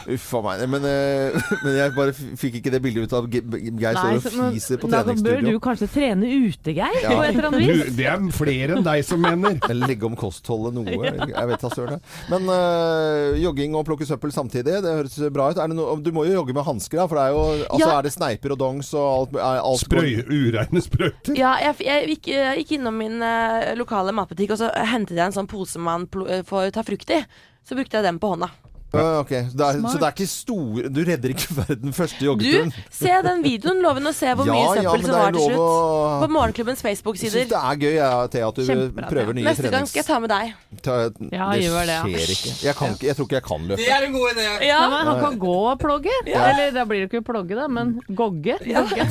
B: Uff a meg. Men, eh, [laughs] men jeg bare f- fikk ikke det bildet ut av Ge- Geir
D: Nei,
B: står og
D: så- men-
B: fiser på
D: da bør du
B: treningsstudio.
D: kanskje trene ute, Geir,
B: Ja.
D: på et eller annet
C: Du,
D: vis.
C: det er flere enn deg som mener.
B: Eller legge om kostholdet
E: [laughs]
B: noe. Jeg vet da søren. jeg. Men eh, jogging og plukke søppel samtidig, det høres bra ut. Er det noe- du må jo jogge med hansker, da. For det er jo altså,
E: Ja.
B: er det sneiper og dongs og alt, er alt
C: Sprøy, ureine sprøyter.
E: Ja, jeg, f- jeg, gikk, jeg gikk innom min eh, lokale matbutikk, og så hentet jeg en sånn pose man plo- eh, får ta frukt i. Så brukte jeg den på hånda.
B: Ja, ok. Så det er, så det er ikke store Du redder ikke verden første
E: Du,
B: joggeturen.
E: se den videoen, loven, og se hvor
B: Ja,
E: mye
B: ja,
E: søppel
B: men
E: som
B: det er
E: var til
B: lov
E: slutt.
B: å-
E: På
B: Jeg
E: Morgenklubbens
B: syns
E: Facebook-sider.
B: det er gøy, jeg, Thea, at du
D: Kjempebra,
B: prøver nye
E: Neste gang
B: trenings...
E: skal jeg ta med deg.
B: Ta-
D: Ja,
B: det
D: gjør det, ja.
B: skjer ikke. Jeg, kan ikke. jeg tror ikke jeg kan løpe.
H: er en god idé.
D: Ja, men han kan gå og plogge. Eller da blir det ikke plogge, da, men gogge. [laughs]
B: Jeg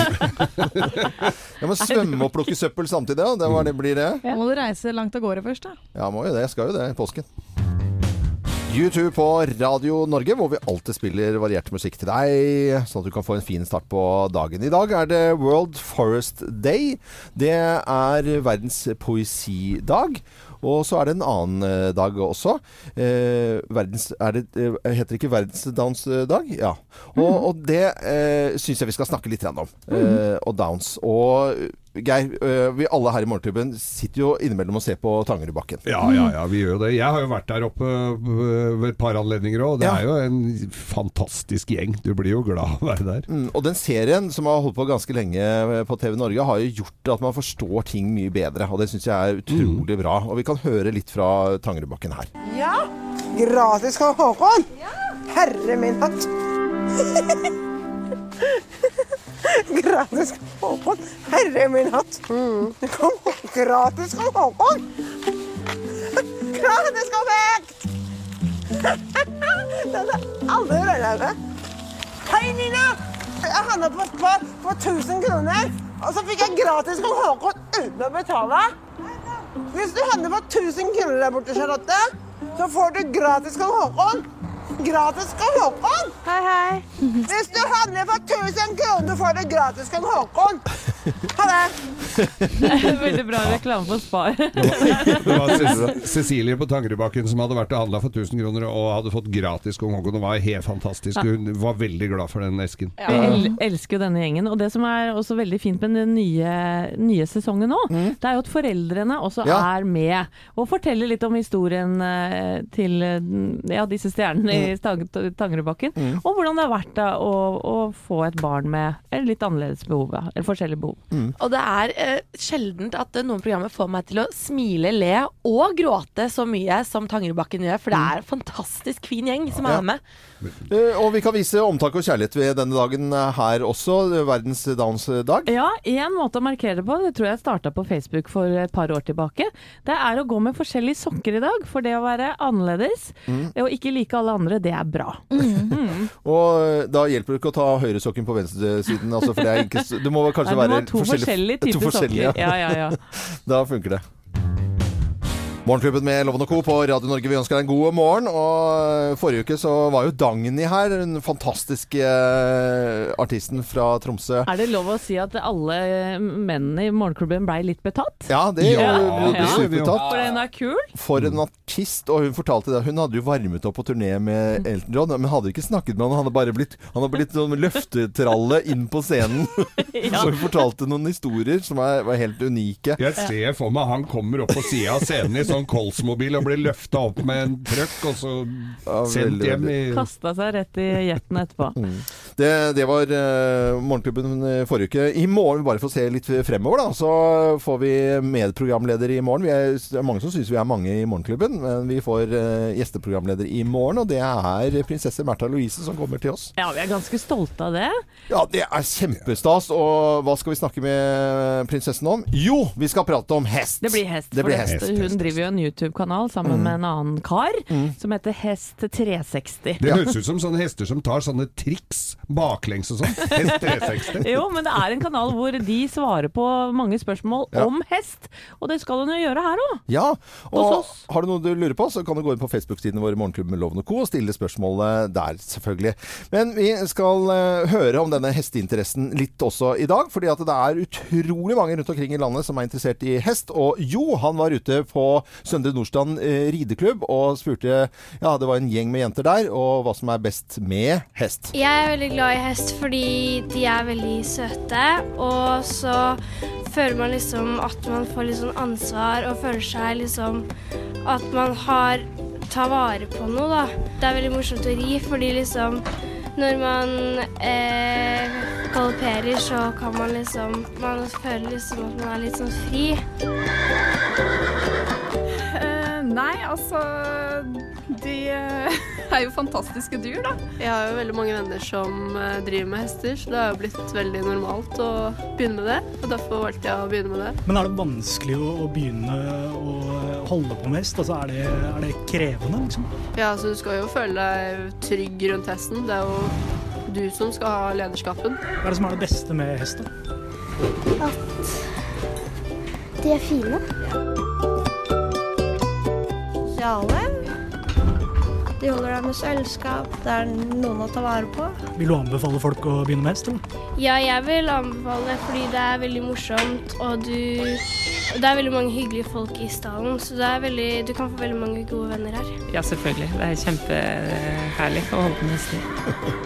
E: [laughs]
B: må svømme og plukke søppel samtidig, ja. Det, var, det blir det.
A: Da må du reise langt av gårde først, da.
B: Ja, må jo det. Jeg skal jo det i påsken. YouTube på Radio Norge, hvor vi alltid spiller variert musikk til deg, sånn at du kan få en fin start på dagen. I dag er det World Forest Day. Det er verdens poesidag. Og så er det en annen eh, dag også. Eh, verdens er det, eh, Heter det ikke verdensdansdag? Ja. Og, og det eh, syns jeg vi skal snakke litt grann om. Eh, og downs. Og Geir, eh, vi alle her i Morgenklubben sitter jo innimellom og ser på Tangerudbakken.
C: Ja, ja, ja, vi gjør jo det. Jeg har jo vært der oppe øh, ved et par anledninger òg. Det
B: Ja.
C: er jo en fantastisk gjeng. Du blir jo glad av å være
B: [laughs]
C: der.
B: Mm, og den serien som har holdt på ganske lenge eh, på TV Norge, har jo gjort at man forstår ting mye bedre. Og det syns jeg er utrolig bra. Og vi kan høre litt fra Tangerudbakken her.
I: Gratis fra Håkon? Herre min hatt. Gratis fra Håkon. Herre min hatt. Det kom gratis fra Håkon. Gratis fra vekt. Det er alle rødløpe. Hei, Nina. Jeg handlet på et par for 1000 kroner, og så fikk jeg gratis fra Håkon uten å betale. Hvis du handler for 1000 kroner der borte, Charlotte, så får du gratis Karl Håkon. Gratis Karl Håkon!
E: Hei, hei.
I: Hvis du handler for 1000 kroner, får du gratis Karl Håkon. Ha det.
D: Veldig bra reklame for [laughs] Spar.
C: Det var Ce- Cecilie på Tangerudbakken som hadde vært og handla for 1000 kroner og hadde fått gratis kong Haakon. Det var helt fantastisk. Hun var veldig glad for den esken.
D: Vi el elsker jo denne gjengen. Og det som er også veldig fint med den nye, nye sesongen nå, det er jo at foreldrene også
B: Mm. Ja.
D: er med og forteller litt om historien eh, til eh, ja, disse stjernene
B: Mm.
D: i Stang- T- Tangerudbakken. Og hvordan det har vært da, å, å få et barn med eh, litt annerledes behov, ja, eller forskjellige behov.
E: Og det er eh, sjeldent at eh, noen programmer får meg til å smile, le og gråte så mye som Tangerudbakken gjør, for det er en fantastisk fin gjeng som
B: Mm. Ja.
E: er med.
B: Eh, Og vi kan vise omtak og kjærlighet ved denne dagen eh, her også. Verdens dansdag.
D: Ja, én måte å markere det på, det tror jeg starta på Facebook for et par år tilbake, det er å gå med forskjellige sokker i dag. For det å være annerledes
B: Mm.
D: og ikke like alle andre, det er bra.
B: Og eh, da hjelper det ikke å ta høyresokken på venstresiden, altså, for det er ikke s- Det må vel kanskje
D: Nei, du må
B: være
D: ha to forskjellige typer sokker. Ja, ja,
B: [laughs]
D: ja.
B: Da funker det. Morgenklubben med Loven og Co. på Radio Norge. Vi ønsker deg en god morgen. Og forrige uke så var jo Dagny her, den fantastiske eh, artisten fra Tromsø.
D: Er det lov å si at alle eh, mennene i morgenklubben blei litt betatt?
B: Ja, det
C: Ja,
B: ble
D: det
C: gjorde vi jo.
B: supertatt.
D: For den er kul.
B: For en artist. Og hun fortalte det. Hun hadde jo varmet opp på turné med Elton John, men hadde ikke snakket med ham. Han hadde bare blitt, han hadde blitt sånn løftetralle inn på scenen. Så hun fortalte noen historier som er, var helt unike.
C: Jeg ser for meg han kommer opp på sida av scenen i sånn Kolsmobil og blir løfta opp med en trøkk og så sendt
B: veldig,
C: hjem i
D: Kasta seg rett i jetten etterpå.
B: Mm. Det, det var eh, Morgenklubben eh, forrige uke. I morgen, bare for å se litt fremover, da, så får vi medprogramleder i morgen. Vi er, det er mange som syns vi er mange i Morgenklubben, men vi får eh, gjesteprogramleder i morgen. Og det er prinsesse Märtha Louise som kommer til oss.
D: Ja, vi er ganske stolte av det.
B: Ja, det er kjempestas. Og hva skal vi snakke med prinsessen om? Jo, vi skal prate om hest!
D: Det blir hest.
B: Det
D: for
B: blir
D: det-
B: hest. Mm.
D: Hun driver jo en YouTube-kanal sammen med en annen kar som heter Hest360.
C: Det høres ut som sånne hester som tar sånne triks baklengs og sånn. Hest 360.
D: Jo, men det er en kanal hvor de svarer på mange spørsmål
B: Ja.
D: om hest. Og det skal hun jo gjøre her òg.
B: Ja, og
D: Hos oss.
B: har du noe du lurer på, så kan du gå inn på Facebook-siden vår Morgenklubben med Loven og Co. og stille spørsmålene der, selvfølgelig. Men vi skal eh, høre om denne hesteinteressen litt også i dag, fordi at det er utrolig mange rundt omkring i landet som er interessert i hest. Og jo, han var ute på Søndre Nordstrand eh, rideklubb og spurte Ja, det var en gjeng med jenter der, og hva som er best med hest.
H: Jeg er veldig glad i hest fordi de er veldig søte, og så føler man liksom at man får litt sånn ansvar og føler seg liksom at man har tar vare på noe, da. Det er veldig morsomt å ri fordi liksom når man eh, galopperer, så kan man liksom Man føler liksom at man er litt sånn fri.
A: Eh,
J: nei, altså De
A: [laughs]
J: er jo fantastiske dyr, da. Jeg har jo veldig mange venner som eh, driver med hester, så det har jo blitt veldig normalt å begynne med det. Og derfor valgte jeg å begynne med det.
K: Men er det vanskelig å, å begynne å eh, holde på med hest? Altså, er, det, er det krevende, liksom?
J: Ja, altså du skal jo føle deg trygg rundt hesten. Det er jo du som skal ha lederskapen.
K: Hva er det som er det beste med hest? da?
H: De er fine.
L: sosiale. De holder deg med selskap. Det er noen å ta vare på.
K: Vil du anbefale folk å begynne med hest? Eller?
H: Ja, jeg vil anbefale fordi det er veldig morsomt, og du Det er veldig mange hyggelige folk i stallen, så det er veldig, du kan få veldig mange gode venner her.
D: Ja, selvfølgelig. Det er kjempeherlig å holde på med hester.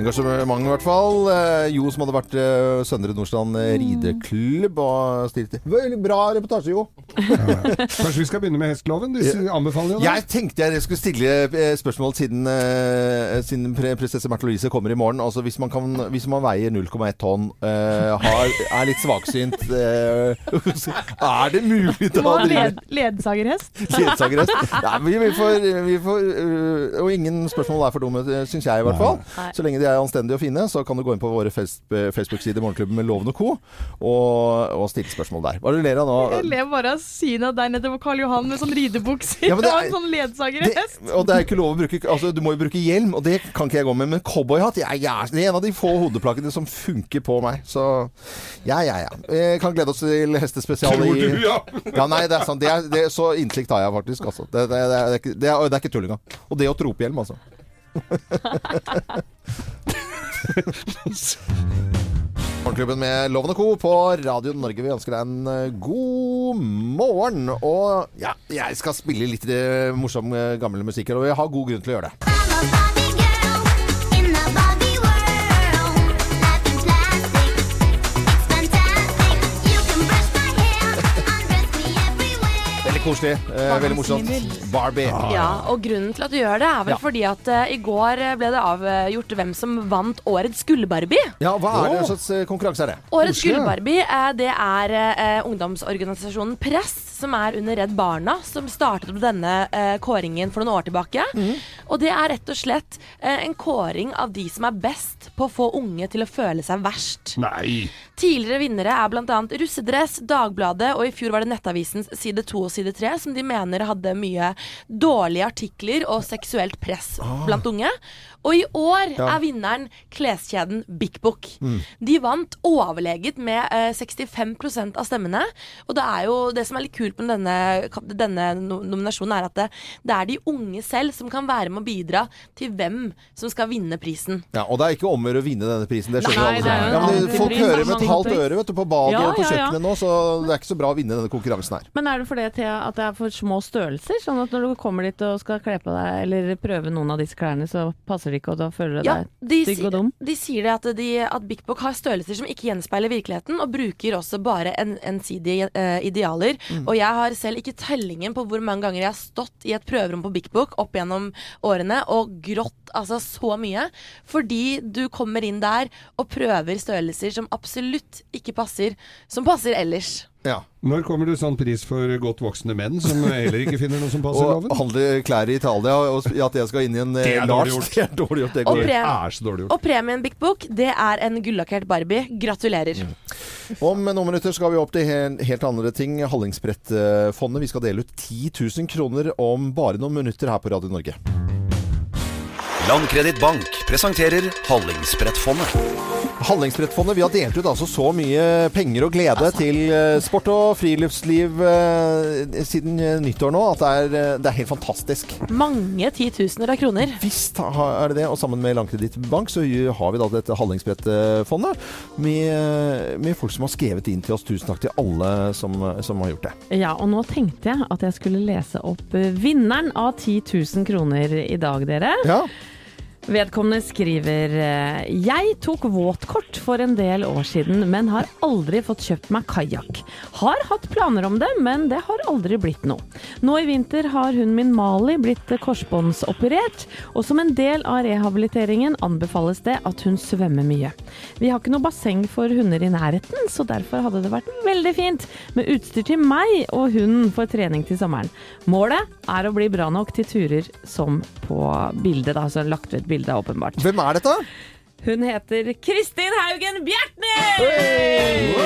B: Engasjement i hvert fall. Eh, Jo, som hadde vært eh, Søndre Nordstrand eh,
D: Mm.
B: rideklubb og stilt Veldig bra reportasje, Jo.
C: Kanskje vi skal begynne med hestloven? De s- anbefaler jo det.
B: Jeg tenkte jeg skulle stille eh, spørsmål siden, eh, siden pre- prinsesse Märtha Louise kommer i morgen. Altså hvis man, kan, hvis man veier 0,1 tonn, eh, har, er litt svaksynt eh, [laughs] Er det mulig
A: Du
B: da
A: må
B: å
A: ha
B: drive
A: led ledsagerhest.
B: ledsagerhest? Nei, vi, vi får, vi får eh, Og ingen spørsmål er for dumme, syns jeg i hvert fall.
D: Nei.
B: Så lenge de er anstendige og fine, så kan du gå inn på våre fes- Facebook-sider Morgenklubben med Loven og co. Og, og stille spørsmål der. Hva er det du ler av nå?
A: Jeg ler bare av synet av deg nede på Karl Johan med sånn ridebukser
B: Ja, men det
A: [laughs] og
B: er-
A: en sånn
B: Det,
A: ledsagerhest.
B: og det er ikke lov å bruke Altså, du må jo bruke hjelm, og det kan ikke jeg gå med. Men cowboyhatt jeg, jeg, det er en av de få hodeplaggene som funker på meg. Så ja, ja, ja. Eh, kan glede oss til hestespesial i
C: Tror du, ja?
B: Ja, nei, det er sant. Det er, det, så innsikt har jeg faktisk, altså. Det, det, det, er, ikke- det, er, det er ikke tull engang. Og det å trope hjelm, altså. Morgenklubben med Loven og Co. på Radio Norge. Vi ønsker deg en eh, god morgen. Og ja, jeg skal spille litt eh, morsom eh, gammel musikk her, og jeg har god grunn til å gjøre det. Veldig koselig. eh, veldig morsomt. Barbie.
E: Ja, og grunnen til at du gjør det, er vel
B: Ja.
E: fordi at eh, i går eh, ble det avgjort hvem som vant årets gullbarbie.
B: Ja, hva er det slags eh, konkurranse er det?
E: Årets
C: Koselig, ja.
E: gullbarbie eh, det er eh, ungdomsorganisasjonen Press, som er under Redd Barna, som startet med denne eh, kåringen for noen år tilbake.
C: Mhm.
E: Og det er rett og slett eh, en kåring av de som er best på å få unge til å føle seg verst.
C: Nei!
E: Tidligere vinnere er bl.a. russedress, Dagbladet og i fjor var det Nettavisens side 2 og side 3, som de mener hadde mye dårlige artikler og seksuelt press blant unge. Og i år
B: Ja.
E: er vinneren kleskjeden Big Book. De vant overleget med eh, 65 av stemmene. Og det er jo det som er litt kult med denne, kap- denne no- nominasjonen, er at det, det er de unge selv som kan være med å bidra til hvem som skal vinne prisen.
B: Ja, og det er ikke om å gjøre å vinne denne prisen. Det skjønner alle.
D: Nei, det er jo en
B: ja, men det,
D: antipris,
B: folk hører med
D: en
B: et halvt
D: antipris.
B: øre vet du, på badet
D: Ja,
B: og på
D: ja, ja.
B: kjøkkenet nå, så det er ikke så bra å vinne denne konkurransen her.
D: Men er det fordi Thea, at det er for små størrelser? Sånn at når du kommer dit og skal kle på deg eller prøve noen av disse klærne, så passer det ikke, og da føler du
E: Ja, de,
D: deg stygg
E: si-
D: og dum?
E: de sier det at, de, at Big Book har størrelser som ikke gjenspeiler virkeligheten, og bruker også bare en, ensidige eh, idealer.
D: Mm.
E: Og jeg har selv ikke tellingen på hvor mange ganger jeg har stått i et prøverom på Big Book opp gjennom årene og grått altså så mye. Fordi du kommer inn der og prøver størrelser som absolutt ikke passer, som passer ellers.
B: Ja.
C: Når kommer det sånn pris for godt voksne menn som heller ikke finner noe som passer
B: Og
C: loven?
B: handle klær i Italia, og sp- at jeg skal inn i en eh,
C: Det er dårlig gjort.
B: Lars. [laughs] Det er dårlig gjort. Det
E: Og
B: går.
E: pre-
C: Det er så dårlig gjort.
E: Og premien Big Book, det er en gullakkert Barbie. Gratulerer.
D: Mm.
B: Om noen minutter skal vi opp til he- helt andre ting. Hallingsbrettfondet. Vi skal dele ut 10 000 kroner om bare noen minutter her på Radio Norge.
M: Landkreditt Bank presenterer Hallingsbrettfondet.
B: Hallingsbrettfondet, vi har delt ut altså så mye penger og glede
D: Altså.
B: til eh, sport og friluftsliv eh, siden eh, nyttår nå, at det er, eh, det er helt fantastisk.
E: Mange titusener av kroner.
B: Visst ha- er det det, og sammen med Landkredittbank så gj- har vi da dette Hallingsbrettfondet med, eh, med folk som har skrevet inn til oss. Tusen takk til alle som, som har gjort det.
D: Ja, og nå tenkte jeg at jeg skulle lese opp eh, vinneren av 10 000 kroner i dag, dere. Vedkommende skriver eh, Jeg tok våtkort for en del år siden, men har aldri fått kjøpt meg kajakk. Har hatt planer om det, men det har aldri blitt noe. Nå i vinter har hun min Mali blitt eh, korsbåndsoperert, og som en del av rehabiliteringen anbefales det at hun svømmer mye. Vi har ikke noe basseng for hunder i nærheten, så derfor hadde det vært veldig fint med utstyr til meg og hunden for trening til sommeren. Målet er å bli bra nok til turer som på bildet, da, så lagt ved et bilde, åpenbart.
B: Hvem er dette?
D: Hun heter Kristin Haugen Bjertnæs!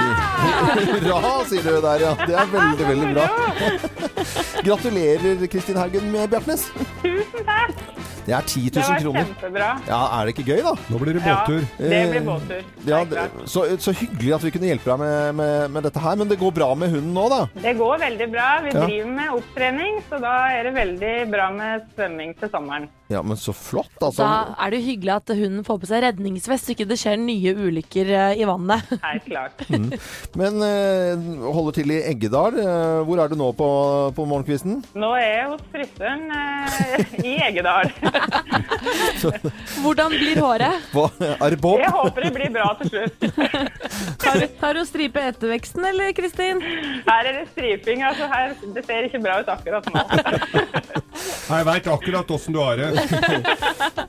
B: Hurra, sier du der, ja. Det er veldig, veldig bra. Gratulerer, Kristin Haugen med Bjartnes.
N: Tusen takk!
B: Det er 10
N: Det
B: 000
N: var
B: kroner.
N: kjempebra.
B: Ja, Er det ikke gøy, da? Nå blir
N: det båttur. Ja, det blir båttur.
B: Eh, Ja, det- så, så hyggelig at vi kunne hjelpe deg med, med, med dette her. Men det går bra med hunden nå, da?
N: Det går veldig bra. Vi
B: Ja.
N: driver med opptrening, så da er det veldig bra med svømming til sommeren.
B: Ja, men så flott, altså.
E: Da er det jo hyggelig at hunden får på seg redningsvest, så ikke det skjer nye ulykker eh, i vannet.
N: Helt klart.
B: Mm. Men eh, holder til i Eggedal. Eh, hvor er du nå på, på morgenkvisten?
N: Nå er jeg hos frisøren eh, i Egedal.
E: Hvordan blir håret?
B: Hva, [laughs] er det Bob?
N: Jeg håper det blir bra til slutt.
D: Har du stripe etter veksten, eller, Kristin?
N: Her er det striping. altså her, Det ser ikke bra ut akkurat nå.
C: Jeg veit akkurat åssen du har det.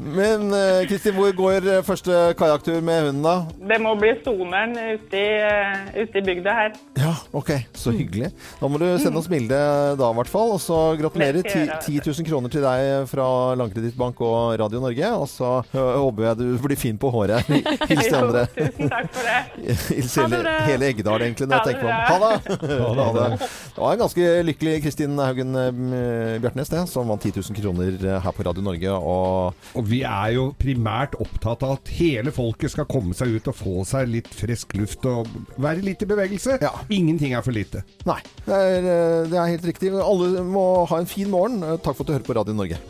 B: Men eh, Kristin, hvor går eh, første kajakktur med hunden, da?
N: Det må bli soneren ute i, eh, ute i bygda her.
B: Ja, ok. Så hyggelig. Da må du sende oss bilde da, i hvert fall. Og så gratulerer.
N: Det skal jeg gjøre.
B: 10 000 kroner til deg fra Landkredittbank og Radio Norge. Og så ø, håper jeg du blir fin på
N: [laughs]
B: håret. Hils de andre.
N: Tusen takk for
B: [laughs]
N: det.
B: Hils
N: Ha det
B: hele,
N: bra.
B: hele Eggedal, egentlig, når jeg
N: Ha det
B: tenker
C: [laughs]
B: meg om. Ha det! Ha det. Det var en ganske lykkelig Kristin Haugen eh, Bjartnes, det, som vant 10 000 kroner eh, her på Radio Norge. Og,
C: vi er jo primært opptatt av at hele folket skal komme seg ut og få seg litt frisk luft og være litt i bevegelse. Ingenting er for lite.
B: Nei, det er, eh, det er helt riktig. Alle må ha en fin morgen. Eh, Takk for at du hører på Radio Norge.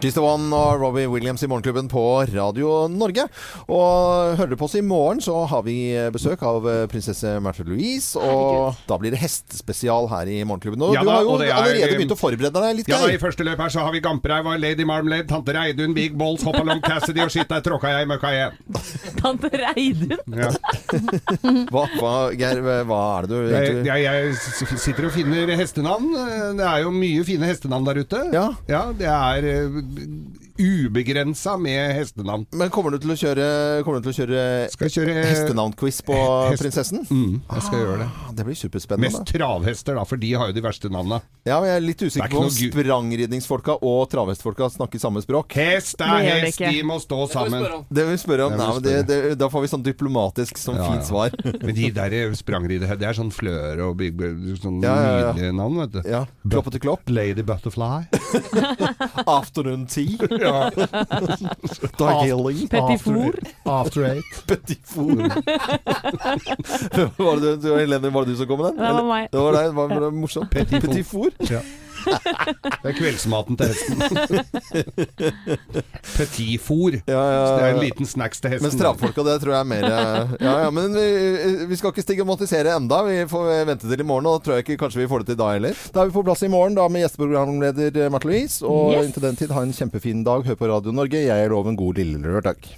B: She's the One og Robbie Williams i Morgenklubben på Radio Norge. Og hører du på oss i morgen, så har vi besøk av eh, prinsesse Märtha Louise. Og da blir det hestespesial her i Morgenklubben. Og
C: Ja
B: du
C: da,
B: har jo
C: og det er-
B: allerede begynt å forberede deg litt,
C: Ja, da, I
B: Geir.
C: første løp her så har vi Gampereiva, Lady Marmalade, Tante Reidun, Big Balls, Hoppalong Cassidy og shit, der tråkka jeg i møkka igjen.
D: Tante Reidun?
C: Ja.
B: Hva, hva, Geir, hva er det du
C: Jeg,
B: egentlig
C: jeg, jeg s- sitter og finner hestenavn. Eh, Det er jo mye fine hestenavn der ute. Ja, Det er eh, ubegrensa med hestenavn.
B: Men kommer du til å kjøre, kommer du til å kjøre,
C: Skal kjøre
B: Eh, hestenavnquiz på [laughs]
C: hest-
B: prinsessen? Ah,
C: Mm, jeg skal gjøre det.
B: Det blir superspennende.
C: Mest travhester, da, for de har jo de verste navna.
B: Ja, men jeg er litt
C: Det er
B: usikker
C: ikke
B: på om
C: noe gu-
B: sprangridningsfolka og travhestfolka snakker samme språk.
C: Hest er Det gjør det hest, ikke. de må stå Det får vi sammen. spørre om.
B: Det vil vi spørre om.
C: Det må
B: Nei,
C: vi
B: men det, det, da får vi sånn diplomatisk, sånn fint svar. [laughs]
C: Men de der sprangridderne, det er sånn flør og big, sånn
B: Ja, ja, ja.
C: nydelige navn, vet du.
B: Ja. Kloppete klopp.
C: Lady
B: [laughs]
C: Butterfly. [laughs]
B: Afternoon tea.
C: Ja.
B: Darjeeling.
C: Petit four. Mm. After eight.
B: Petit four. [laughs] var, det, du- Helene, var det du som kom med den?
D: Det var
B: Eller?
D: meg.
B: Det var deg. Det var, det var morsomt.
C: Petit
B: Petit four.
C: Det er kveldsmaten til
B: [laughs]
C: hesten. Petit four. Så det er en liten snacks til hesten.
B: Mens travfolka, det tror jeg er mer eh, Ja, ja, men vi, vi skal ikke stigmatisere enda. Vi får vente til i morgen, og da tror jeg ikke kanskje vi får det til da heller. Da er vi på plass i morgen da med gjesteprogramleder Marte Louise. Og
M: Yes.
B: inntil den tid, ha en kjempefin dag. Hør på Radio Norge. Jeg er loven god lille lørdag.